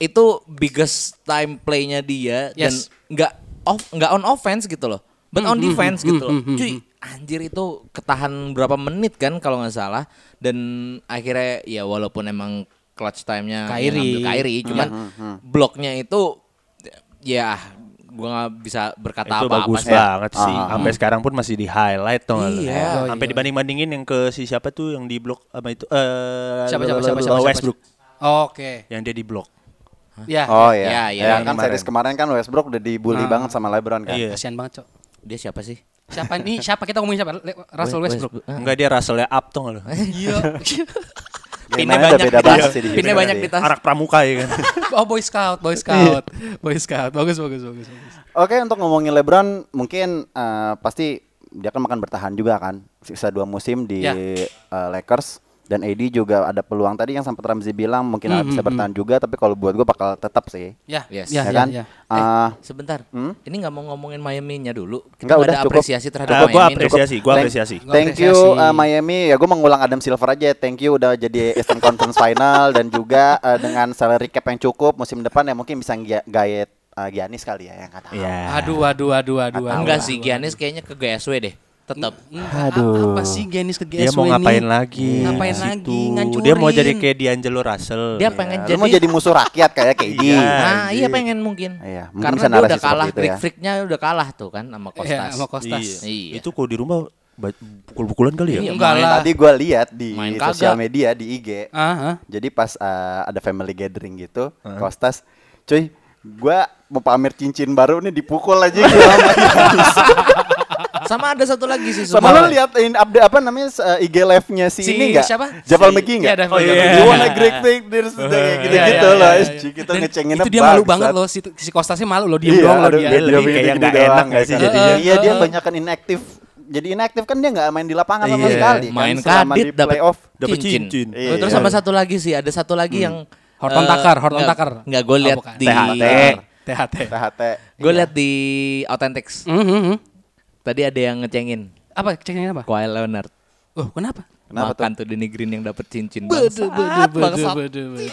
itu biggest time play-nya dia dan Yes. Mm-hmm. nggak off nggak on offense gitu loh. But on defense gitu loh. Cuy, anjir itu ketahan berapa menit kan kalau nggak salah dan akhirnya ya walaupun emang clutch time-nya yang Kyrie. ngambil Mm-hmm. Kyrie, cuman Mm-hmm. bloknya itu ya gua nggak bisa berkata itu apa-apa bagus sih. banget sih. Ah. Sampai sekarang pun masih di highlight tuh. Iya. Sampai dibanding-bandingin yang ke si siapa tuh yang di blok sama itu eh Siapa, siapa, siapa, siapa, siapa? Westbrook Oke. yang dia di blok. Ya. Oh iya. Iya, iya, Ya, yang kan kemarin. series kemarin kan Westbrook udah dibully banget sama LeBron kan. Iya. Kasihan banget, Cok. Dia siapa sih? Siapa nih? Siapa kita ngomongin siapa? Le- Russell Westbrook. Westbrook. Enggak dia Russell-nya up tuh loh. Eh, Iya. Pinnya Mainnya udah banyak, beda di tas. banget sih di pinnya Houston banyak tadi. di tas. Anak pramuka ya kan. oh, Boy Scout, Boy Scout. Boy Scout. Bagus, bagus, bagus, bagus. Oke untuk ngomongin LeBron mungkin eh, pasti dia kan makan bertahan juga kan sisa dua musim di Ya. eh, Lakers dan AD juga ada peluang tadi yang sempat Ramzi bilang mungkin bisa bertahan juga tapi kalau buat gue bakal tetap sih Ya, Yes. ya ya, ya, kan ya. Eh, Sebentar, Hmm? ini nggak mau ngomongin Miami-nya dulu. Kita Enggak, nggak udah, ada cukup. apresiasi terhadap Nah, Miami. gua dulu. apresiasi. gua Thank- apresiasi. Thank Apresiasi. you uh, Miami. Ya gue mengulang Adam Silver aja. Thank you udah jadi Eastern Conference Final dan juga uh, dengan salary cap yang cukup musim depan ya mungkin bisa ngga- gayet uh, Giannis kali ya yang kata. Iya. Aduh, aduh, aduh, aduh. aduh. Enggak sih, Giannis kayaknya ke GSW deh. Tetap. Aduh. Apa sih Genis ke GSW Dia mau ini? Iya, ngapain lagi? Ngapain di lagi? situ? Ngancurin. Dia mau jadi kayak D'Angelo Russell. Dia pengen Ya, Lu jadi mau jadi musuh rakyat kayak KD. Nah, iya pengen mungkin. Iya, mungkin Karena bisa dia narasi udah seperti kalah, itu ya. trik-triknya udah kalah tuh kan sama Iya, Kostas. sama Kostas. Iya. Itu kalau di rumah ba- pukul-pukulan kali ya. Iya, Enggak main- lah. Tadi gua lihat di Main sosial kagak. media di IG. Ah, ah. Jadi pas eh, ada family gathering gitu, Ah. Kostas, cuy, gua mau pamer cincin baru nih dipukul aja gitu. Iya. Sama ada satu lagi sih Sama Sumbawa. lu liatin update apa namanya eh, IG live-nya si, Si ini enggak? siapa? Jabal Si- Megi enggak? Iya, Jabal Oh, Megi. iya. You want a great thing, there's the gitu-gitu Iya, iya, gitu, loh. iya, SG, iya. Kita Dan ngecenginnya Itu dia malu bangsat. banget loh, si, si Kostasnya malu loh, diem Iya, doang loh aduh, dia. dia- Jadi diemin kayak gitu nggak doang, enak nggak sih kan? jadinya? Iya dia banyak kan inaktif. Jadi inaktif kan dia nggak main di lapangan sama Iya, sekali. kan main selama di kadit dapat playoff. Dapet cincin. cincin. Oh, Terus Iya. Hmm. sama satu lagi sih, ada satu lagi yang Horton eh, Takar, Horton nggak- Takar. Nggak gue Oh, lihat bukan. di THT. THT. THT. iya. Gue lihat di Authentics. Hmm, hmm, hmm. Tadi ada yang ngecengin Apa ceknya apa? Kawhi Leonard. Oh, kenapa? Kenapa Makan tuh Danny Green yang dapat cincin. Bangsat, Bedu, bedu, bedu, bangsat. bedu, bedu.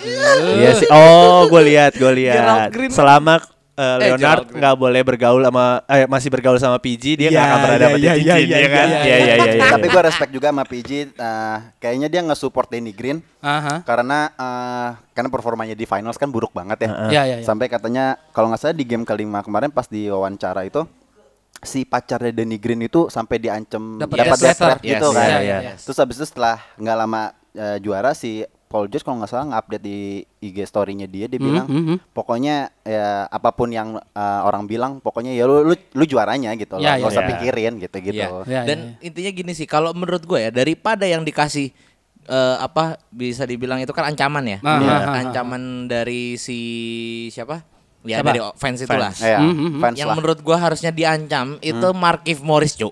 Iya sih. Oh, gue lihat, gue Gerald lihat. Green. Selama eh, Gerald Leonard Green. nggak boleh bergaul sama eh masih bergaul sama PG, dia nggak Iya, akan pernah iya, dapat iya, cincin iya, ya kan? iya, Iya iya iya. Tapi iya. gue respect juga sama PG. eh, kayaknya dia nge-support Danny Green Aha. karena eh, karena performanya di finals kan buruk banget ya. Iya, iya, iya. Sampai katanya kalau nggak salah di game kelima kemarin pas di wawancara itu si pacarnya Danny Green itu sampai diancem Dapat dapat death death letter. threat Yes, gitu kan. iya, iya, iya. Terus habis itu setelah nggak lama eh, juara si Paul George kalau nggak salah nge-update di IG story-nya dia dia bilang pokoknya ya apapun yang eh, orang bilang pokoknya ya lu lu, lu juaranya gitu loh. Iya, Nggak iya, usah iya. pikirin gitu-gitu. Iya. Iya, Dan iya, intinya gini sih, kalau menurut gue ya daripada yang dikasih eh, apa bisa dibilang itu kan ancaman ya, Ah, Iya. ah, ah, ancaman dari si siapa? Ya Siapa? dari fans itulah. Iya, fans Yang lah. Hmm. menurut gue harusnya diancam itu Markif Morris cu.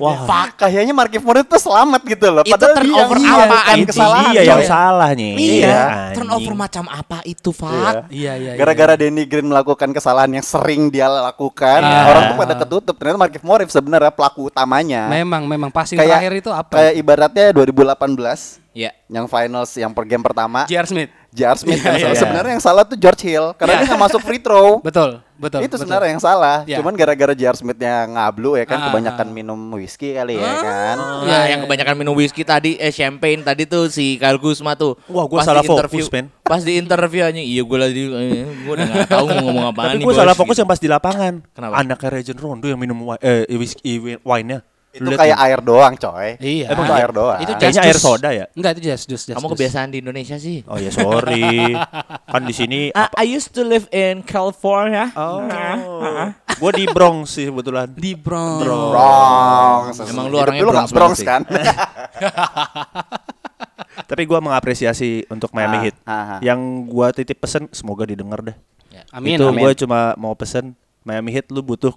Wah, Pak, Ah, kayaknya Markif Morris tuh selamat gitu loh. Itu turnover yang apaan? melakukan Itu kesalahan. Dia yang coy. salah nih. iya. anjing. Turnover macam apa itu, Iya. Fak? Iya, iya. Gara-gara Danny Green melakukan kesalahan yang sering dia lakukan, Iya. orang tuh pada ketutup. Ternyata Markif Morris sebenarnya pelaku utamanya. Memang, memang passing Kayak- terakhir itu apa? Kayak ibaratnya 2018 Iya. yang finals yang per game pertama, JR Smith. J.R. Smith Iya, yang iya, salah. iya. Sebenarnya yang salah tuh George Hill karena dia nggak masuk free throw. Betul, itu betul. betul. sebenarnya yang salah. Iya. Cuman gara-gara J.R. Smithnya ngablu ya kan, Ah. kebanyakan minum whisky kali ya kan. Iya, Nah, yang kebanyakan minum whisky tadi eh champagne tadi tuh si Kyle Kuzma tuh. Wah, gua Pas salah di interview- fokus, men. Pas di interview anjing, iya gue lagi eh, gua udah gak tahu mau ngomong apaan Tapi nih. gue salah bos, fokus gitu. yang pas di lapangan. Kenapa? Anaknya Regent Rondo yang minum wi- eh, whisky wi- wine-nya. Itu Lu lihat kayak tuh. air doang, coy. Iya. Emang Iya. itu air doang. Itu Kayaknya just air juice. soda ya? Enggak, itu just just. Kamu kebiasaan di Indonesia sih. Oh ya sorry. kan di sini Ah, I used to live in California. Oh. Gue di Bronx sih kebetulan. di Bronx. Bronx. Emang lu Hidup orangnya nggak Bronx banget Bronx sih. kan? Tapi gue mengapresiasi untuk Miami Ah, Heat. ah, ah. Yang gue titip pesen semoga didengar deh. Amin. Itu amin. gue cuma mau pesen Miami Heat lu butuh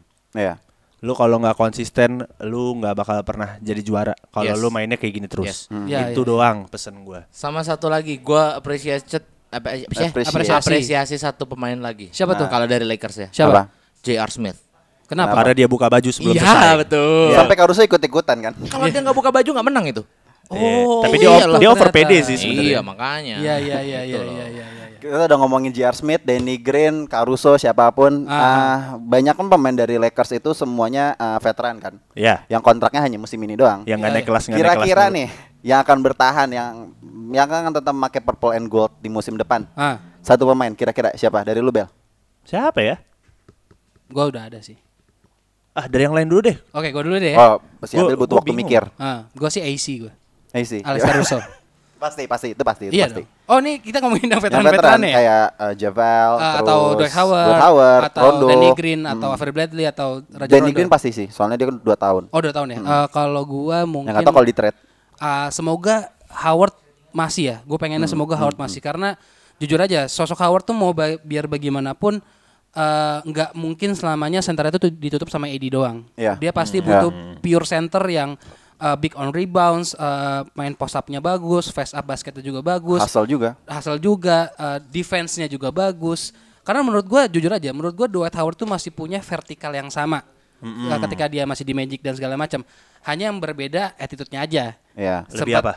Iya. Lu kalau nggak konsisten, lu nggak bakal pernah jadi juara. Kalau Yes. lu mainnya kayak gini Yes. terus, Hmm. Ya, ya. itu doang pesen gue. Sama satu lagi, gue apresiasi apa, apa sih? Apresiasi. apresiasi satu pemain lagi. Siapa tuh? Kalau dari Lakers ya. Apa? Siapa? J.R. Smith. Kenapa? Karena dia buka baju sebelum Iya selesai. betul. Sampai Caruso ikut-ikutan kan? Kalau dia nggak buka baju nggak menang itu. Iya. Oh, Tapi dia, iya over- loh. dia over ternyata. PD sih Iya sebenarnya. makanya. Iya, iya, iya, iya, Gitu loh. iya, iya, iya. Kita udah ngomongin J.R. Smith, Danny Green, Caruso, siapapun. Ah, banyak kan pemain dari Lakers itu semuanya ah, veteran kan? Iya. Yang kontraknya hanya musim ini doang. Yang nggak Iya, naik kelas nggak naik kelas Kira-kira dulu. nih yang akan bertahan yang yang akan tetap pakai purple and gold di musim depan. Ah, Satu pemain kira-kira siapa dari lu Bel? Siapa ya? gua udah ada sih. Ah dari yang lain dulu deh. Oke, gua dulu deh ya. Oh, pasti Gua- Abel butuh gua waktu bingung. mikir. Ah, gua sih AC gua. Eh sih. Alex Caruso. pasti, pasti itu pasti, itu iya pasti. dong. Oh, nih kita ngomongin yang Yang veteran-veteran ya. kayak uh, Javel, Ah, terus atau Dwight Howard, Dwight Howard, atau Rondo, Hmm. Danny Green atau Avery Bradley atau Raja Danny Rondo. Green pasti sih, soalnya dia kan 2 tahun. Oh, dua tahun ya. Eh, kalau gua Yang mungkin nggak tahu kalau di trade. Ah, semoga Howard masih ya. Gue pengennya Hmm, semoga Howard masih karena jujur aja sosok Howard tuh mau ba- biar bagaimanapun eh, nggak mungkin selamanya center itu tuh ditutup sama AD doang. Iya. Dia pasti Hmm. butuh pure center yang eh, big on rebounds, eh, main post up-nya bagus, face up basketnya juga bagus Hasil juga. hasil juga, eh, defense-nya juga bagus. Karena menurut gua jujur aja, menurut gua Dwight Howard tuh masih punya vertikal yang sama. Hmm, Eh, Ketika dia masih di Magic dan segala macam. Hanya yang berbeda attitude-nya aja. Iya. Lebih Sempat- apa?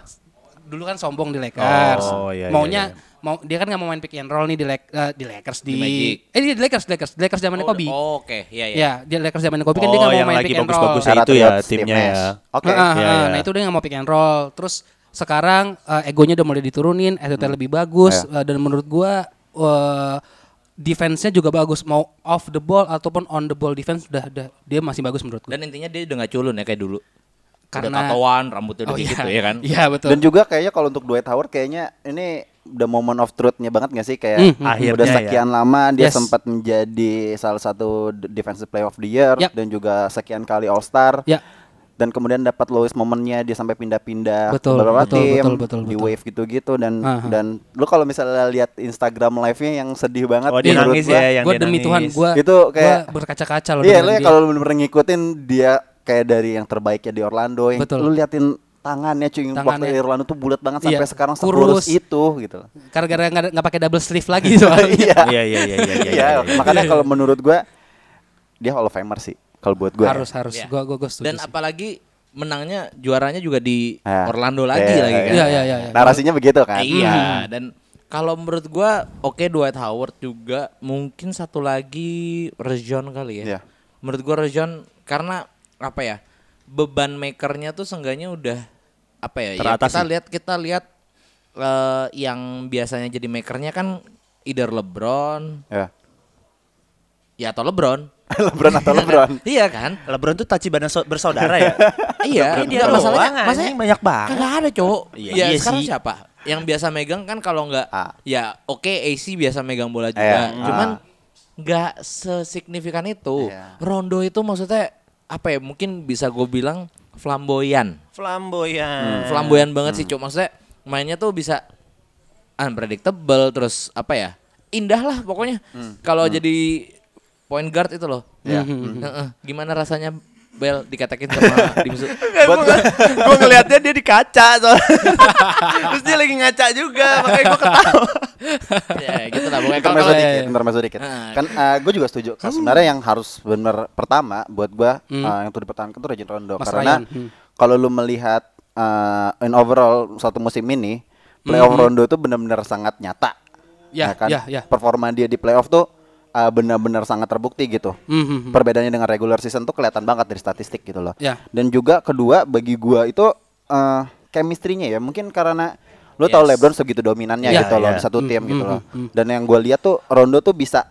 Dulu kan sombong di Lakers. Oh, iya, iya, Maunya mau dia kan nggak mau main pick and roll nih di, Lak- eh, di Lakers di, Di Magic. Eh di Lakers, di Lakers, di Lakers zamannya Oh, Kobe. oh, Oke, iya iya. Ya, di Lakers zamannya Kobe kan dia Oh, nggak mau yang main lagi pick and roll. bagus-bagus ya. Cara itu trade, timnya Steve Nash. ya. Oke. Heeh, Iya, heeh. iya. Nah itu dia nggak mau pick and roll. Terus sekarang Hmm. Iya. eh, egonya udah mulai diturunin, attitude lebih bagus eh, dan menurut gua eh, defense-nya juga bagus mau off the ball ataupun on the ball defense udah, udah dia masih bagus menurut gue. Dan intinya dia udah gak culun ya kayak dulu. Karena udah Karena- tatoan, rambutnya udah Oh, dikit iya. gitu, tuh, ya kan. Iya betul. Dan juga kayaknya kalau untuk Dwight Howard kayaknya ini the moment of truth-nya banget gak sih kayak Hmm, hmm, hmm. udah Akhirnya ya. sekian lama dia Yes. sempat menjadi salah satu d- defensive player of the year Yap. dan juga sekian kali All Star. Ya. Dan kemudian dapat lowest momennya dia sampai pindah-pindah ke Betul, beberapa betul, tim betul, betul, di betul. wave gitu-gitu dan Aha. dan lu kalau misalnya lihat Instagram live-nya yang sedih banget Oh, dia menurut nangis gua, ya, yang Gue dia demi nangis. Tuhan gue Itu kayak- berkaca-kaca Iya, loh. dengan lu ya dia. kalau bener-bener ngikutin dia kayak dari yang terbaiknya di Orlando, yang Betul. lu liatin tangannya cuy, waktu Tangannya. di Orlando tuh bulat banget Iya, sampai sekarang kurus. Oh, sekurus itu gitu. loh. gara-gara nggak nggak pakai double sleeve lagi soalnya. Iya, Iya iya iya iya. iya, iya. iya. Makanya kalau menurut gua dia Hall of Famer sih kalau buat gua. ya. harus harus Iya. gue gue gue setuju. Dan sih. apalagi menangnya juaranya juga di Ah, Orlando lagi iya, lagi kan. Iya, Hmm. iya, iya, iya. Narasinya begitu kan. Iya, dan kalau menurut gua oke Dwight Howard juga mungkin satu lagi Rejon kali ya. Iya. Menurut gua Rejon karena apa ya? Beban makernya tuh seenggaknya udah apa ya? ya Teratasi. kita lihat kita lihat eh, yang biasanya jadi makernya kan either LeBron Ya. ya atau LeBron. Lebron atau Lebron. iya kan? LeBron tuh Tachibana so- bersaudara ya. iya, Lebron dia doang, masalahnya anjing, masalahnya banyak banget. Kagak ada, cowok. Iya, ya, iya sekarang sih. siapa? Yang biasa megang kan kalau nggak Ah. ya oke AC biasa megang bola juga. Iya, Cuman ah. nggak sesignifikan itu. Iya. Rondo itu maksudnya apa ya? Mungkin bisa gue bilang flamboyan. Flamboyan. Flamboyan banget Hmm. sih, cowok. Maksudnya mainnya tuh bisa unpredictable terus apa ya? Indah lah pokoknya. Hmm. Kalau jadi point guard itu loh. Iya. Ya. Heeh. Gimana rasanya Bel dikatakin sama Dimsu? Eh, Buat gua- gue ngelihatnya dia di kaca soalnya. Terus dia lagi ngaca juga, makanya gue ketawa. ya gitu lah pokoknya kalau Intermezzo kalau- dikit, intermezzo dikit. Ah. Kan gue juga setuju. Kan Sebenarnya yang harus benar pertama buat gue yang perlu dipertahankan tuh Regin Rondo Mas karena Ryan, hmm. kalau lu melihat eh, in overall satu musim ini playoff Rondo tuh benar-benar sangat nyata. Ya, kan? ya, ya. Performa dia di playoff tuh eh, benar-benar sangat terbukti gitu. Mhm. Perbedaannya dengan regular season tuh kelihatan banget dari statistik gitu loh. Ya. Dan juga kedua bagi gua itu eh chemistry-nya ya. Mungkin karena lu tahu Yes. LeBron segitu dominannya Ya, gitu loh ya. di satu tim hmm, gitu loh. Dan yang gua lihat tuh Rondo tuh bisa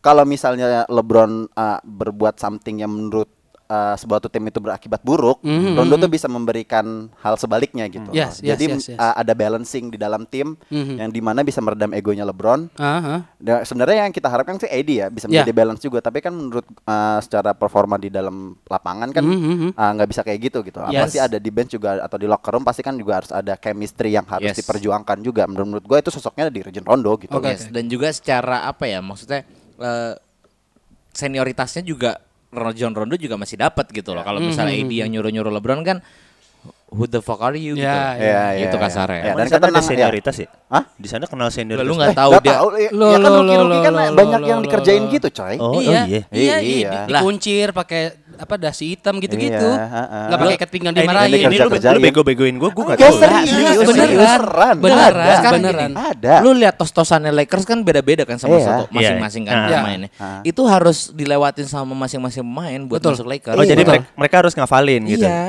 kalau misalnya LeBron eh, berbuat something yang menurut eh, sebuah tim itu berakibat buruk, Hmm, Rondo tuh bisa memberikan hal sebaliknya gitu. loh. Yes, yes, Jadi yes, Hmm, yes. eh, ada balancing di dalam tim yang dimana bisa meredam egonya LeBron Aha. Da- sebenarnya yang kita harapkan sih AD ya bisa Ya. menjadi balance juga tapi kan menurut uh, secara performa di dalam lapangan kan uh, Mhm. nggak bisa kayak gitu gitu apa Yes. sih ada di bench juga atau di locker room pasti kan juga harus ada chemistry yang harus Yes. diperjuangkan juga menurut menurut gue itu sosoknya di Regent Rondo gitu Oke. Yes, dan juga secara apa ya maksudnya eh, senioritasnya juga Ron- John Rondo juga masih dapat gitu loh kalau misalnya AD yang nyuruh nyuruh LeBron kan who the fuck are you Ya, gitu ya. Ya, itu ya, kasarnya ya. Emang dan di sana ada ketenangan, ya. senioritas ya? Hah? Di sana kenal senioritas. lu nggak Eh, tahu Nggak dia tahu, ya, Lo, ya kan lo, lo, ruki-ruki lo, kan lo, banyak lo, yang lo, dikerjain lo. gitu coy Oh, iya, iya. iya, Iya. iya, di- dikuncir pakai apa dasi hitam gitu-gitu. Iya, ah, ha, ha. Nggak pakai ikat pinggang Eh, ini- dimarahin. Ini, lu, Kerja-kerjain. lu ya? Ah, bego-begoin gue, gue nggak Nggak, tahu. serius, serius, Nah, beneran, seriusan. beneran, Ada. sekarang beneran. gini, ada kan? Lu lihat tos-tosannya Lakers kan beda-beda kan sama Iya. satu masing-masing kan Iya. mainnya. Ah. Itu harus dilewatin sama masing-masing pemain buat Betul. masuk Lakers. Oh, jadi Betul. mereka, mereka harus ngafalin gitu. Iya.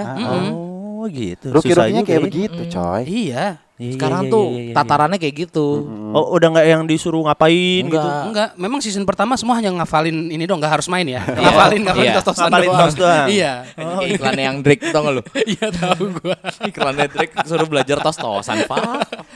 Oh, gitu. ruki-rukinya kayak Susah juga ya. begitu coy Iya. Iya, iya, sekarang iya, tuh iya, iya. tatarannya kayak gitu. Oh, udah nggak yang disuruh ngapain gitu. Nggak. Enggak, Ah. memang season pertama semua hanya ngafalin ini dong, nggak harus main ya. ngafalin, ngafalin Iya. tos-tosan Ngafalin doang. tos doang. Iya. Kayak iklannya yang Drake tau gak lu? Iya tahu gua. Iklannya Drake suruh belajar tos-tosan pak.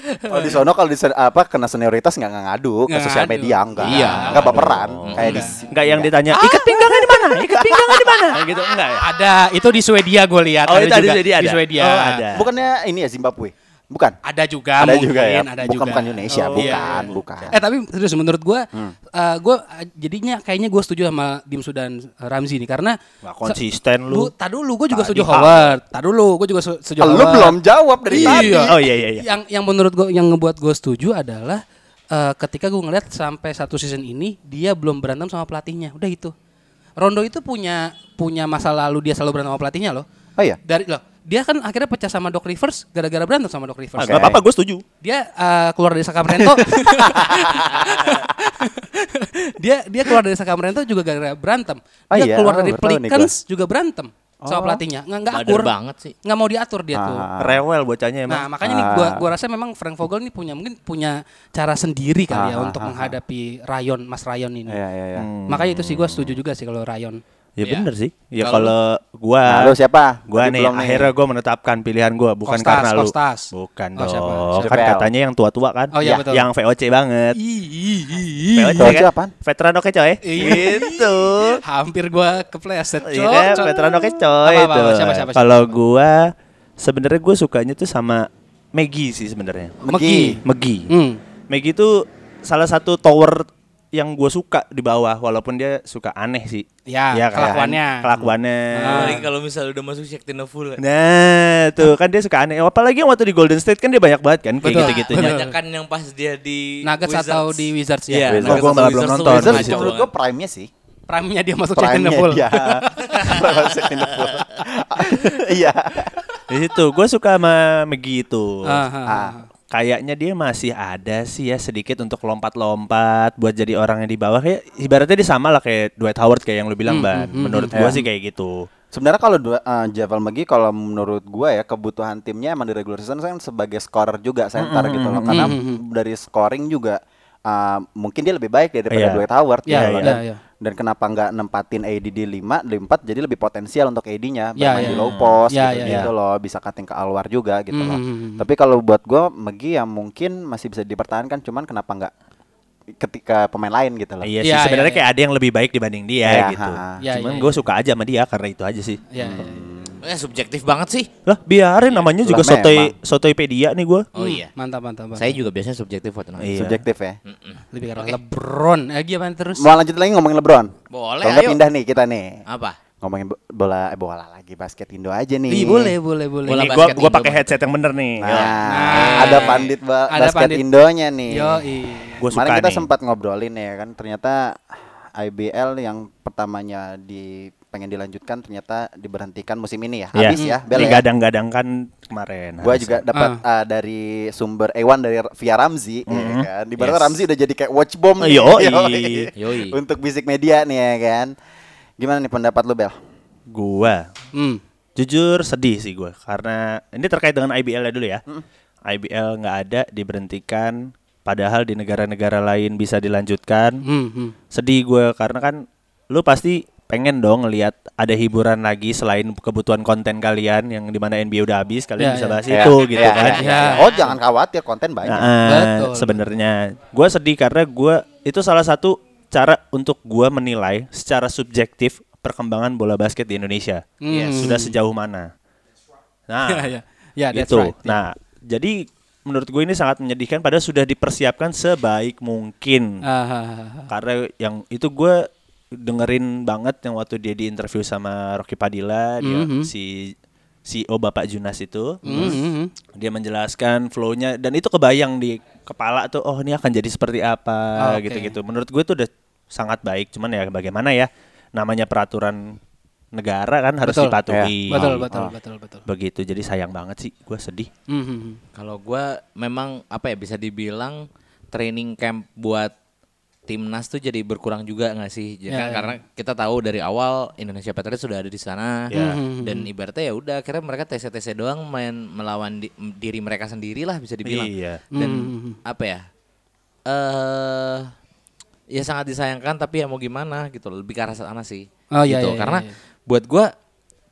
kalau di sono kalau di sen- apa kena senioritas nggak nggak ngadu ke Nggak sosial ngadu. Oh. media enggak Iya. nggak baperan kayak di Enggak yang ditanya, ikat Ah, pinggangnya di mana? Ikat pinggangnya di mana? gitu enggak ya? Ada, itu di Swedia gue lihat. Oh, itu ada di juga. Swedia Di ada? Swedia. Oh, ada. bukannya ini ya Zimbabwe bukan Ada juga ada Ah, mungkin, juga ya ada bukan juga. bukan Indonesia Oh, iya. bukan bukan Eh tapi serius menurut gue, Hmm. gue jadinya kayaknya gue setuju sama Dimsu dan eh, Ramzi nih karena Nggak konsisten Lu, lu. tak dulu gue juga Tadi setuju hak. Howard. Tak dulu gue juga se- setuju Lu Howard. belum jawab dari tadi. Iya. Oh, iya, iya, iya. Yang yang menurut gue yang ngebuat gue setuju adalah eh, ketika gue ngeliat sampai satu season ini dia belum berantem sama pelatihnya. Udah itu. Rondo itu punya punya masa lalu dia selalu berantem sama pelatihnya loh. Oh iya. Dari loh, dia kan akhirnya pecah sama Doc Rivers gara-gara berantem sama Doc Ah, Rivers. nggak apa-apa, gue setuju. Dia eh, keluar dari Sacramento. dia dia keluar dari Sacramento juga gara-gara berantem. Oh Dia iya, keluar oh, dari baru tahu nih Oh. Pelicans juga berantem. sama pelatihnya. Nggak nggak Bader akur. banget sih. Nggak mau diatur dia tuh. Ah. Rewel bocahnya Nah, emang. makanya nih gua gua rasa memang Frank Vogel ini punya mungkin punya cara sendiri kali Ah, ya ah, untuk ah, ah. menghadapi Rayon Mas Rayon ini. Iya, iya, iya. Hmm. Makanya itu sih gua setuju juga sih kalau Rayon. Ya Iya. bener sih. Ya Kalau kalau gua Nah, lu siapa? Ah, Gua Tadi nih belum akhirnya gua menetapkan pilihan gua bukan Kostas, karena lu. Kostas. Bukan Oh, dong. siapa? Siapa? Kan VL. katanya yang tua-tua kan. Oh, iya, Ya, betul. Yang VOC banget. VOC VOC kan. apaan? Veteran oke coy. Iya. Gitu. Hampir gua kepleset. Iya kan, Cok, cok. veteran oke coy. Apa, apa, apa, tuh. siapa, siapa, siapa? Kalau gua sebenarnya gua sukanya tuh sama Maggie sih sebenarnya. Megi. Maggie. Hmm. Maggie itu salah satu tower yang gue suka di bawah walaupun dia suka aneh sih. Ya, Iya kan? kelakuannya. Kelakuannya. Nah, Apalagi kalau misalnya udah masuk Shaktina full. ya. Nah, tuh kan dia suka aneh. Apalagi yang waktu di Golden State kan dia banyak banget kan kayak Betul. gitu-gitunya. Banyak kan yang pas dia di Nuggets atau di Wizards ya? Iya, Wizards. Oh, gua atau malah belum Wizards tuh nonton. Wizards Wizards kacau menurut gue banget. prime-nya sih. Prime-nya dia masuk Check in the Prime-nya Pool. dia. Prime Jack in the Pool. Iya. Di situ gue suka sama Maggie itu. Ah, ah, ah. Kayaknya dia masih ada sih ya sedikit untuk lompat-lompat buat jadi orang yang di bawah kayak ibaratnya dia sama lah kayak Dwight Howard kayak yang lu bilang, Hmm, Ban. Menurut Iya. gua Ya. sih kayak gitu. Sebenarnya kalau dua eh, Javel McGee kalau menurut gua ya kebutuhan timnya emang di regular season kan sebagai scorer juga center gitu loh karena dari scoring juga eh, mungkin dia lebih baik daripada Iya. Dwight Howard Iya, gitu loh. iya, dan, iya. dan kenapa nggak nempatin AD di 5 di 4 jadi lebih potensial untuk AD-nya Iya, bermain iya. di low post Iya, gitu, iya, gitu loh bisa cutting ke Alwar juga gitu loh. Hmm. Tapi kalau buat gua McGee yang mungkin masih bisa dipertahankan cuman kenapa nggak ketika pemain lain gitu loh. Iya Iya, sih sebenarnya iya, kayak ada yang lebih baik dibanding dia Iya, ha, gitu. Iya. ha. Iya, Cuman iya, gue suka aja sama dia karena itu aja sih. Ya, ya, ya. Eh, subjektif banget sih. Lah biarin namanya juga Lah, sotoy memang. sotoypedia nih gue. Oh iya. Mantap, mantap, mantap. Saya juga biasanya subjektif waktu nonton. Hmm. Iya. Subjektif ya. lebih karena LeBron. Eh gimana terus? Mau lanjut lagi ngomongin LeBron? Boleh, Kalau nggak ayo. pindah nih kita nih. Apa? Ngomongin bo- bola eh, bola lagi basket Indo aja nih. Ih, boleh, boleh, boleh. Bola Ini gue basket gue Indo pakai banget. headset yang bener nih. Iya. Nah, Yo. Nah. ada pandit ba- Ada basket pandit. iya. Indonya nih. Yoi. Gua Kemarin suka kita nih. sempat ngobrolin ya kan ternyata IBL yang pertamanya di pengen dilanjutkan ternyata diberhentikan musim ini ya. Iya. Habis ya, Hmm. Bel ya. Digadang-gadangkan kemarin. Gue harusnya. Ah. juga dapat uh, dari sumber Ewan dari R- via Ramzi ya kan. Di mana Hmm. Yes. Ramzi udah jadi kayak watch bomb nih. Yoi. Yoi. Untuk bisik media nih ya kan. Gimana nih pendapat lu Bel? Gua Hmm. jujur sedih sih gue karena ini terkait dengan IBL -nya dulu ya. IBL nggak ada diberhentikan, padahal di negara-negara lain bisa dilanjutkan. Hmm. hmm. Sedih gue karena kan lu pasti pengen dong lihat ada hiburan lagi selain kebutuhan konten kalian yang dimana NBA udah habis Ya, kalian bisa ya. bahas Ya, itu ya, gitu ya, kan. ya, ya. Oh jangan khawatir konten banyak. Nah, Betul. sebenarnya gue sedih karena gue itu salah satu cara untuk gue menilai secara subjektif perkembangan bola basket di Indonesia Hmm. sudah sejauh mana. Nah, Ya, ya. Ya, that's itu. right. Nah, jadi menurut gue ini sangat menyedihkan. Padahal sudah dipersiapkan sebaik mungkin. Ah, ah, ah, ah. Karena yang itu gue dengerin banget yang waktu dia di interview sama Rocky Padilla, dia Mhm. si CEO Bapak Junas itu Hmm, hmm, hmm. dia menjelaskan flow-nya dan itu kebayang di kepala tuh oh ini akan jadi seperti apa Ah, Oke. gitu-gitu. Menurut gue itu udah sangat baik, cuman ya bagaimana ya namanya peraturan negara kan harus Betul. Ya. Iya. dipatuhi. Oh. Betul, betul, betul, betul. Begitu. Jadi sayang banget sih, gue sedih. Hmm, hmm, hmm. Kalau gua memang apa ya bisa dibilang training camp buat timnas tuh jadi berkurang juga nggak sih? Ya kan? Ya, ya. Karena kita tahu dari awal Indonesia Patriots sudah ada di sana Ya. dan ibaratnya ya udah akhirnya mereka TC-TC doang main melawan di- diri mereka sendiri lah bisa dibilang. Iya. Dan apa ya? Eh ya sangat disayangkan tapi ya mau gimana gitu loh, lebih ke arah sana sih. Oh, iya, gitu. iya, iya, Karena iya. buat gua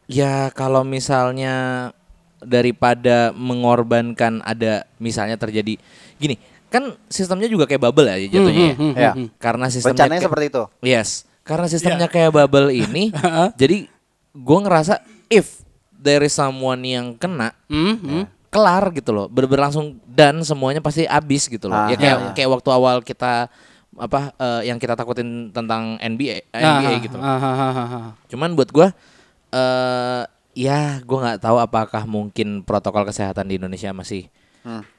ya kalau misalnya daripada mengorbankan ada misalnya terjadi gini kan sistemnya juga kayak bubble Hmm, ya jatuhnya ya. Ya. karena sistemnya Rencananya ya. kayak- seperti itu. yes karena sistemnya Iya. kayak bubble ini jadi gue ngerasa if there is someone yang kena Hmm, hmm. kelar gitu loh bener langsung dan semuanya pasti abis gitu loh Ah, ya kayak iya, iya. kayak waktu awal kita apa eh, yang kita takutin tentang NBA eh, Ah, NBA ah, gitu ah, ah, ah, ah. Cuman buat gua eh ya gua nggak tahu apakah mungkin protokol kesehatan di Indonesia masih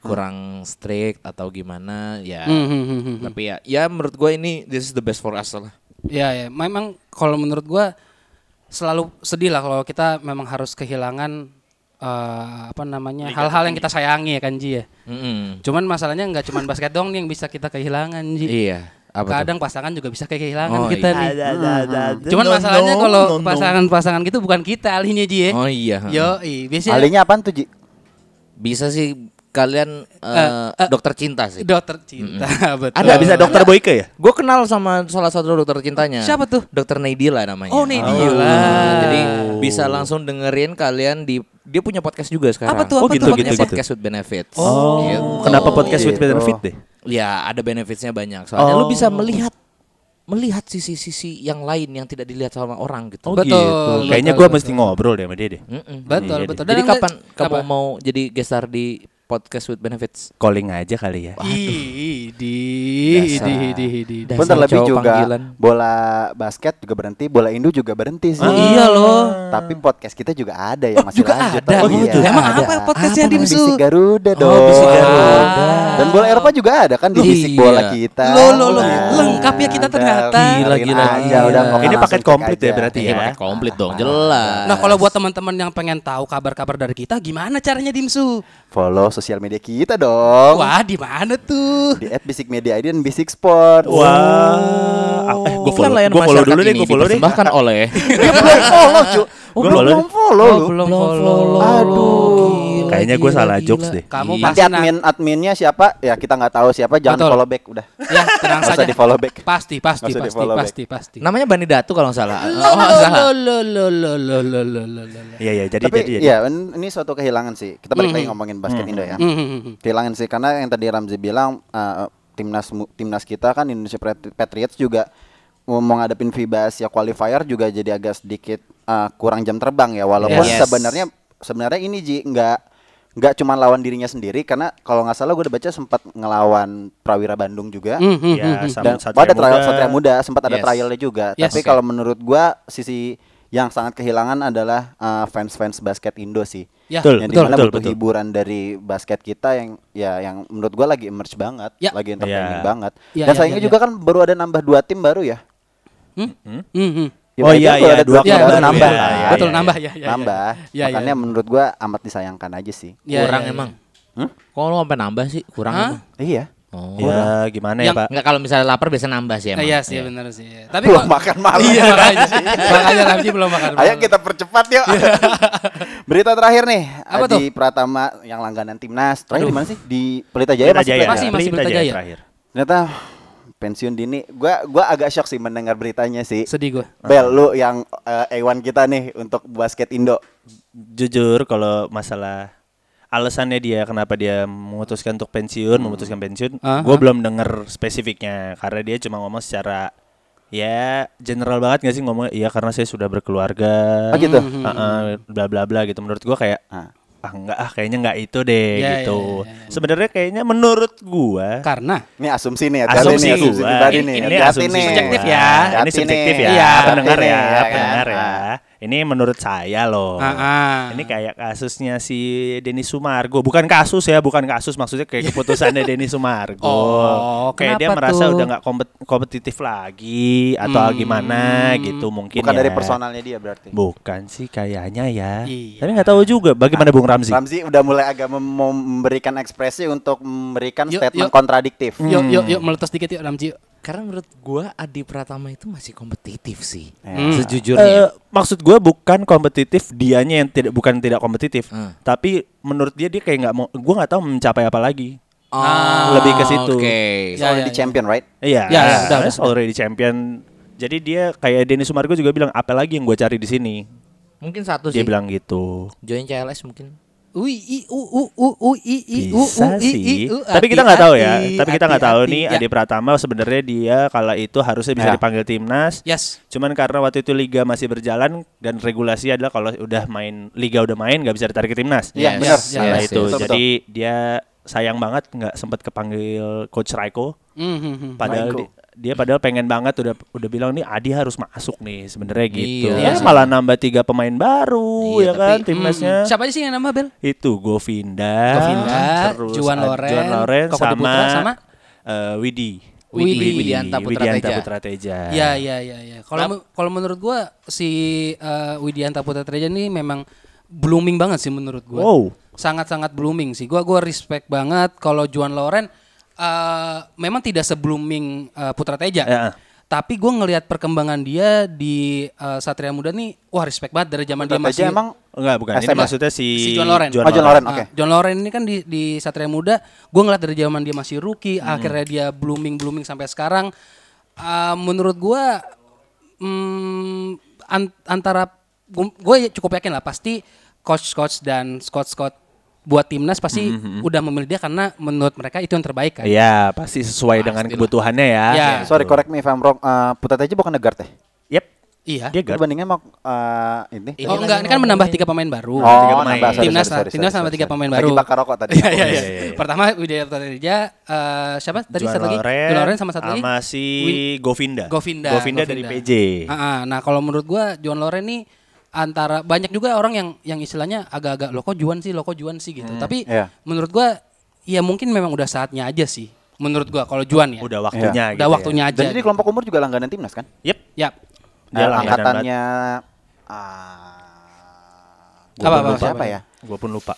kurang strict atau gimana ya. Hmm, hmm, hmm, hmm. Tapi ya ya menurut gua ini this is the best for us lah. Ya ya, memang kalau menurut gua selalu sedih lah kalau kita memang harus kehilangan eh, apa namanya hal-hal yang kita sayangi ya kan Ji ya. Mm-mm. Cuman masalahnya nggak cuman basket dong nih yang bisa kita kehilangan Ji. Iya. Apa tuh? kadang pasangan juga bisa kayak kehilangan Oh, kita iya. nih. Ada-ada-ada. Cuman No, masalahnya no, kalau no, no. pasangan-pasangan gitu bukan kita alihnya Ji ya. Oh iya. Yo, biasanya Alinya apaan tuh Ji? Bisa sih kalian eh, Eh, eh. dokter cinta sih. dokter cinta betul. Ada, bisa dokter Boyke ya? Gue kenal sama salah satu dokter cintanya. Siapa tuh? Dokter Naidila namanya. Oh, Naidila. Oh. Jadi bisa langsung dengerin kalian di dia punya podcast juga sekarang. Apa tuh, Oh, apa gitu, tuh? Namanya gitu, gitu. podcast with benefits. Oh, Gitu. kenapa podcast with benefit deh? Ya, ada benefitsnya banyak. Soalnya lu Oh. bisa melihat melihat sisi-sisi yang lain yang tidak dilihat sama orang gitu. Betul, betul, Oh Kayaknya gue betul. mesti ngobrol deh sama dia deh. Mm-mm. Betul, Iya, betul. Jadi Dan- kapan kamu apa? mau jadi gestar di podcast with benefits? Calling aja kali ya. Ih, di Dasar. di di di. Dasar Pun terlebih cowok juga panggilan. bola basket juga berhenti, bola Indo juga berhenti sih. Oh, iya loh. Tapi podcast kita juga ada yang masih juga lanjut. ada. Oh, Oh, iya. tuh. Emang Ada. apa podcastnya Apa Dimsu? Bisik Garuda dong. Oh, Oh, Bisik Garuda. Dan bola Eropa juga ada kan di bisik Iya. bola kita. Lo, lo, lo. Nah, Lengkap ya kita ada. ternyata. Gila, Dengerin gila, aja, gila. udah, pokoknya Ini langsung paket cek komplit ya aja. Ah. berarti Iya, ya. pakai komplit dong, jelas. Nah, kalau buat teman-teman yang pengen tahu kabar-kabar dari kita, gimana caranya Dimsu? Follow sosial media kita dong. Wah, di mana tuh? Di at Bisik Media ID dan Bisik Sport. Wah, apa- Eh, gua follow, gua follow dulu deh, gue follow deh. Bahkan oleh Dia belum follow, cu. Gua belum, follow. belum Oh, follow lu. belum Aduh. Gila, Kayaknya gue gila, salah gila. jokes deh. Kamu Iya. Nanti pasti na- admin adminnya siapa? Ya kita nggak tahu siapa. Jangan Betul. follow back udah. ya tenang Nggak usah saja. di follow back. Pasti, pasti, Nggak usah di pasti, follow back. pasti, pasti. Namanya Bani Datu kalau nggak salah. Lo, Oh, salah. lo, lo, lo, lo, lo, lo, lo, lo, lo. Iya, iya, jadi, Tapi jadi, jadi. ya ini- ini suatu kehilangan sih. Kita balik lagi ngomongin basket Indo ya. Hmm. Kehilangan sih karena yang tadi Ramzi bilang uh, timnas mu- timnas kita kan Indonesia Patri- Patriots juga mau mau ngadepin FIBA Asia qualifier juga jadi agak sedikit uh, kurang jam terbang ya walaupun Yes. sebenarnya sebenarnya ini Ji nggak nggak cuma lawan dirinya sendiri karena kalau nggak salah gue udah baca sempat ngelawan Prawira Bandung juga Ya, sama Hmm, dan Satria pada trial Muda. Satria Muda sempat ada Yes. trialnya juga. Yes. Tapi Oke. kalau menurut gua sisi yang sangat kehilangan adalah uh, fans-fans basket Indo sih. Ya, Betul, yang betul, dimana betul, butuh betul. hiburan dari basket kita yang ya yang menurut gua lagi emerge banget, Ya. lagi entertaining Ya. banget. Ya, Dan ya, sayangnya ya, juga kan baru ada nambah dua tim baru ya. Hmm, hmm. Oh, United iya, baru iya, ada dua tim klub baru baru, nambah. ya, ya, Betul, ya, nambah ya, ya, ya. Nambah. Ya, ya. Makanya menurut gua amat disayangkan aja sih. Ya, kurang ya, ya. emang. Kok lu sampai nambah sih? Kurang Hah? emang. Iya. Oh. Ya, gimana ya, Yang- Pak? Enggak kalau misalnya lapar biasa nambah sih Ah, emang. Iya sih, benar sih. ya. Tapi Belum kok- makan malam. Iya, makanya. makanya Ramji belum makan Ayo malam. Iya. kita percepat yuk. Berita terakhir nih Apa Adi tuh? Pratama yang langganan timnas. Terakhir di mana sih? Di Pelita Jaya Pelita masih Jaya, Pelita masih- Jaya. masih Pelita Pelita Jaya Jaya. terakhir. Ternyata pensiun dini. Gua gua agak shock sih mendengar beritanya sih. Sedih gue. Bel lu yang eh, A1 kita nih untuk basket Indo. jujur kalau masalah alasannya dia kenapa dia memutuskan untuk pensiun, memutuskan Hmm. pensiun, Ah, gue belum denger spesifiknya karena dia cuma ngomong secara ya general banget gak sih ngomong ya karena saya sudah berkeluarga, Oh, gitu? Ah, Hmm, ah, bla bla bla gitu. Menurut gue kayak Ah. ah enggak ah kayaknya enggak itu deh Ya, gitu. ya, ya, ya. Sebenarnya kayaknya menurut gue Karena Ini asumsi nih, Asumsi nih, asumsi gua. pribadi Ini- nih. Ini Hati-hati asumsi nih. subjektif ya. Hati-hati Ini subjektif nih. ya. Iya. Pendengar Hati ya, nih, kan? pendengar ya. Ah. Ini menurut saya loh. Ah, ah. Ini kayak kasusnya si Denny Sumargo. Bukan kasus ya, bukan kasus maksudnya kayak keputusannya Denny Sumargo. Oh, kayak dia kenapa merasa tuh? udah nggak kompet- kompetitif lagi atau gimana gitu mungkin. Hmm. Bukan ya. dari personalnya dia berarti. Bukan sih kayaknya ya. Iya. Tapi nggak tahu juga bagaimana Bung Ramzi. Ramzi udah mulai agak mem- memberikan ekspresi untuk memberikan Yuk, statement yuk. kontradiktif. yuk yuk yuk meletus dikit yuk Ramji. yuk. Karena menurut gua Adi Pratama itu masih kompetitif sih. Hmm. Sejujurnya. Eh, maksud gue bukan kompetitif dianya yang tidak bukan tidak kompetitif Hmm. tapi menurut dia dia kayak nggak mau gue nggak tahu mencapai apa lagi Ah, lebih ke situ. Oke. He's Ya, already ya, ya. champion, right? iya Ya, ya, yeah, udah, udah. already champion jadi dia kayak Denny Sumargo juga bilang apa lagi yang gue cari di sini Mungkin satu dia sih. bilang gitu Join CLS mungkin. Ui i u u u u i i u u bisa i i sih u. tapi kita nggak tahu ya Hati-hati, tapi kita nggak tahu hati-hati. nih Ya. Adi Pratama sebenarnya dia kala itu harusnya bisa Ya. dipanggil timnas Yes. Cuman karena waktu itu liga masih berjalan dan regulasi adalah kalau udah main liga udah main nggak bisa ditarik ke timnas. Yes, Iya, benar. yes, Salah yes, itu. yes. Jadi dia sayang banget nggak sempat kepanggil coach Raiko. Mhm. Padahal Raiko. di- dia padahal pengen banget udah udah bilang nih Adi harus masuk nih sebenarnya gitu. Iya. Ya, malah nambah tiga pemain baru Iya, ya kan hmm, tapi- timnasnya. Siapa aja sih yang nama Bel? Itu Govinda, Govinda, Juan ada Loren, Juan Loren Koko sama, Diputra, sama? eh, Widi. Widi. Widianta Widianta Putrateja. Putrateja. Ya ya ya ya. Kalau men- kalau menurut gua si eh, Widianta Putrateja ini memang blooming banget sih menurut gua. Wow. Sangat-sangat blooming sih. Gua gua respect banget kalau Juan Loren eh, memang tidak seblooming eh, Putra Teja. Ya. Tapi gue ngelihat perkembangan dia di eh, Satria Muda nih, wah respect banget dari zaman dia Putra masih Teja emang Enggak, bukan. Ini SMA. maksudnya si, si John Loren. Oh, John Loren, oke. Ah, John Loren ini kan di, di Satria Muda, gue ngeliat dari zaman dia masih rookie, Hmm. akhirnya dia blooming blooming sampai sekarang. Ah, menurut gue antara gue cukup yakin lah pasti coach coach dan Scott Scott buat timnas pasti Hmm, udah memilih dia karena menurut mereka itu yang terbaik kan. Iya, pasti sesuai dengan kebutuhannya ya. Ya. Gitu. Sorry, correct me if I'm wrong. Eh, Putra Teja bukan guard ya? Yep. Iya. Dia guard. Dibandingnya sama eh, ini. Ini lagi oh enggak, ini kan ngomongin- menambah tiga pemain baru. Oh, tiga pemain. nambah, sorry, timnas sorry, sorry, timnas sorry, nambah tiga sorry. pemain Lagi baru. bakar rokok tadi. Iya, iya, Iya, iya. iya, iya. Pertama Widya Pratija, eh, siapa tadi John satu lagi? Loren, John Loren sama satu lagi. sama si Win- Govinda. Govinda. dari Govinda. PJ. Ah, ah. nah kalau menurut gua John Loren nih antara banyak juga orang yang yang istilahnya agak-agak loko juan sih, loko juan sih Hmm, gitu. Tapi iya. menurut gua ya mungkin memang udah saatnya aja sih. Menurut gua kalau juan ya. Udah waktunya Udah gitu. ya. waktunya aja. Ya. Dan jadi kelompok umur juga langganan timnas kan? Iya, Yep. Yap. Dia Eh, langganan angkatannya eh, Apa, apa, apa, siapa apa. ya? Gue pun lupa.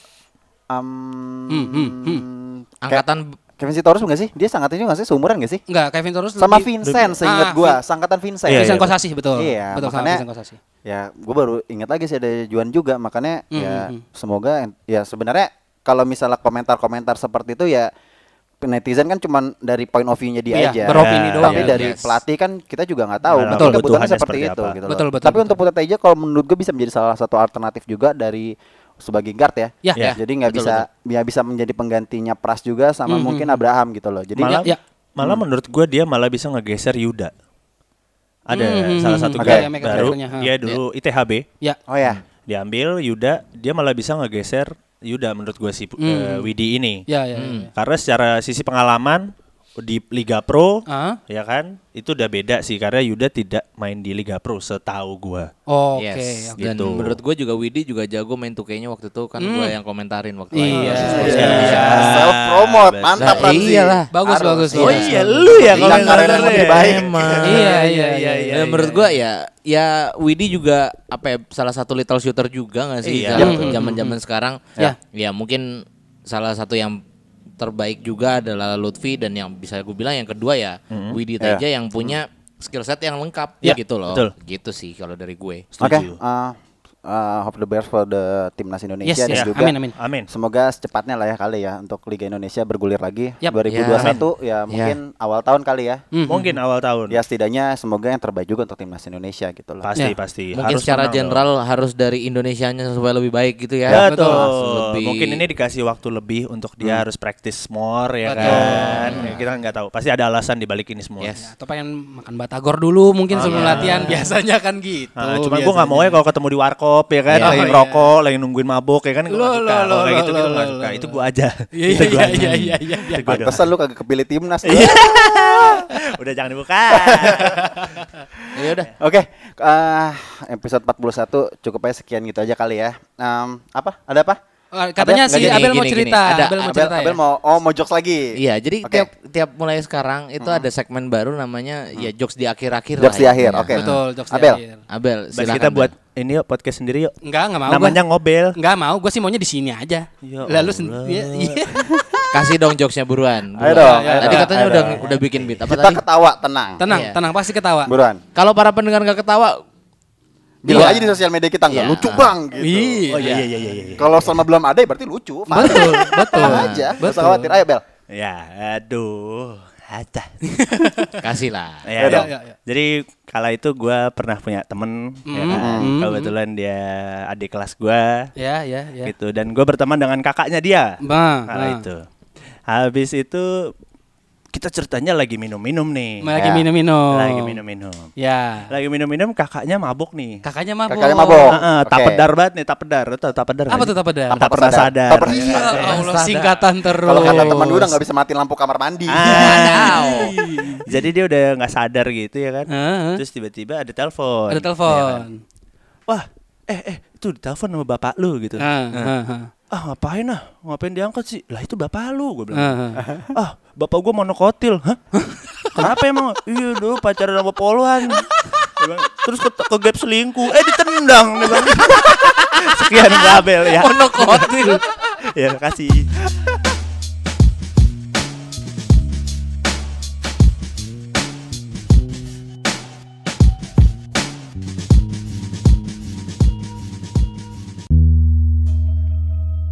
Um, Hmm, hmm, hmm. Angkatan Kevin Sitorus enggak sih? Dia sangkatan juga nggak sih seumuran enggak sih? Enggak, Kevin Torres Sama lebih- Vincent seingat Ah, gua, sangkatan Vincent. Iya, Vincent iya. Kosasi betul. Iya, betul sama makanya- Vincent Kosasi. Ya, gue baru ingat lagi sih ada Juan juga, makanya Hmm, ya hmm, hmm. semoga en- ya sebenarnya kalau misalnya komentar-komentar seperti itu ya netizen kan cuman dari point of view-nya dia Iya, aja. beropini Ya, doang. Tapi Iya, dari yes. pelatih kan kita juga nggak tahu. Tapi Benar, betul. kebutuhannya Kebutuhannya seperti seperti itu apa. gitu Betul, loh. betul, Tapi betul. untuk Putra Teja kalau menurut gue bisa menjadi salah satu alternatif juga dari sebagai guard ya. Ya, ya. Iya. Jadi nggak Betul, bisa ya bisa menjadi penggantinya Pras juga sama Hmm, mungkin Abraham gitu loh. Jadi malah ya, ya. malah menurut gue dia malah bisa ngegeser Yuda. Ada Hmm, salah hmm, satu hmm. Oke. guard baru. Mereka Dia drivernya, ha. dulu ITHB Ya. oh Hmm. ya. diambil Yuda, dia malah bisa ngegeser Yuda menurut gue si Hmm. eh, Widi ini. Ya, ya. Hmm. ya. Karena secara sisi pengalaman di Liga Pro Ah. ya kan itu udah beda sih karena Yuda tidak main di Liga Pro setahu gua. Oke, yes. oke. Dan Gitu. menurut gue juga Widi juga jago main 2K-nya waktu itu kan gue yang komentarin waktu Iya. live. Iya. Self promote, mantap Nah, Ramzi. iyalah. Bagus, Harus. bagus, Iya. bagus. Oh iya, lu ya Iya, komentarnya. karirnya lebih baik. Emang. Iya, iya, iya, Dan menurut gua ya, ya Widi juga apa ya, salah satu little shooter juga nggak sih Iya, zaman- betul. zaman-zaman sekarang. Hmm. Ya. Ya mungkin salah satu yang terbaik juga adalah Lutfi dan yang bisa gue bilang yang kedua ya Widi Teja yang punya skill set yang lengkap Ya, Iya, gitu loh. betul. Gitu sih kalau dari gue. Oke. Setuju. uh, uh, hope the best for the timnas Indonesia Yes, dan yes. Iya, juga Amin, amin. Amin. Semoga secepatnya lah ya kali ya untuk Liga Indonesia bergulir lagi Yap. Hmm. 2021 ya mungkin awal tahun kali ya. mm-hmm. Mungkin awal tahun. Ya setidaknya semoga yang terbaik juga untuk timnas Indonesia gitu loh. Pasti Ya. pasti. Mungkin Iya, Harus secara menang general harus dari Indonesianya supaya lebih baik gitu dong. ya. Ya, Betul. Harus lebih- Mungkin ini dikasih waktu lebih untuk dia harus practice more Hmm. ya Betul. kan. Ya, Kita nggak tahu. Pasti ada alasan dibalik ini semua. Yes. Atau pengen makan batagor dulu mungkin sebelum latihan biasanya kan gitu. Nah, cuman gue nggak mau ya kalau ketemu di warkop ya kan, Iya. lagi Oh, iya. rokok, lagi nungguin mabok ya kan, gue Lo, nggak suka. lo, Kalau lo, kayak lo, gitu gitu lo, nggak lo, suka. lo. Itu gue aja. Iya, Itu iya, gua aja. iya, iya, iya. Itu gua doang. Pantesan lu kagak kepilih timnas. lu. Udah jangan dibuka. Ya udah. Oke, eh, episode 41 cukup aja sekian gitu aja kali ya. Em, apa? Ada apa? Eh, katanya Abel, si nggak, gini, Abel mau gini, cerita. gini. Ada Abel mau Abel, cerita ya? Abel mau oh mau jokes lagi. Iya, jadi Oke. Hmm. tiap tiap mulai sekarang itu ada segmen baru namanya ya jokes di akhir-akhir. lah Jokes di ya. akhir, Iya. oke. Betul, jokes di Abel. akhir. Abel, Bas silakan. kita buat Bel. ini yuk podcast sendiri yuk. Enggak, enggak mau. Namanya ngobel. gua. enggak mau. Gue sih maunya di sini aja. Ya Lalu Allah. sendiri. Iya. kasih dong jokesnya buruan. buruan. Ayo dong, ayo Tadi dong, katanya ayo udah dong. udah bikin beat apa Kita tadi? ketawa tenang. Tenang, Iya. tenang pasti ketawa. Buruan. Kalau para pendengar nggak ketawa, Bilang Iya. aja di sosial media kita nggak Iya. lucu bang gitu. Iya. Oh iya iya iya iya. Kalau selama belum ada ya berarti lucu. Fine. Betul, betul. Tenang aja. Gak usah khawatir. Ayo Bel. Ya, aduh. Acah. Iya, kasih lah. Ya, dong. ya, ya. Jadi kala itu gua pernah punya temen Hmm. ya kan? Kebetulan dia adik kelas gua Ya, ya, ya. Nah, gitu dan gua berteman dengan kakaknya dia. Bang. Kala itu. Habis itu kita ceritanya lagi minum-minum nih. Lagi Ya. minum-minum. Lagi minum-minum. Ya. Lagi minum-minum kakaknya mabuk nih. Kakaknya mabok. Kakaknya mabok. Heeh, Oke. tak pedar banget nih, tak pedar. Lu tahu tak pedar? Oh, Apa tuh tak pedar? Tak pernah Sadar. sadar. Tak pernah Iya, Allah Sadar. singkatan terus. Kalau kata teman gue udah nggak bisa matiin lampu kamar mandi. Ah. Jadi dia udah nggak sadar gitu ya kan. Heeh. Terus tiba-tiba ada Ada telepon. Iya kan. telepon. Wah, eh eh itu telepon sama bapak lu gitu. Ah, Nah, ah, ah. Ah ngapain ah? Ngapain diangkat sih? Lah itu bapak lu gue bilang. Ah, ah. Ah, bapak gua mau nokotil. Hah? Kenapa emang? Iya dulu pacaran sama poluan. Dia bilang, Terus ke, ke gap selingkuh. Eh Oh, ditendang. dia bilang. Sekian Babel ya. Monokotil. ya kasih.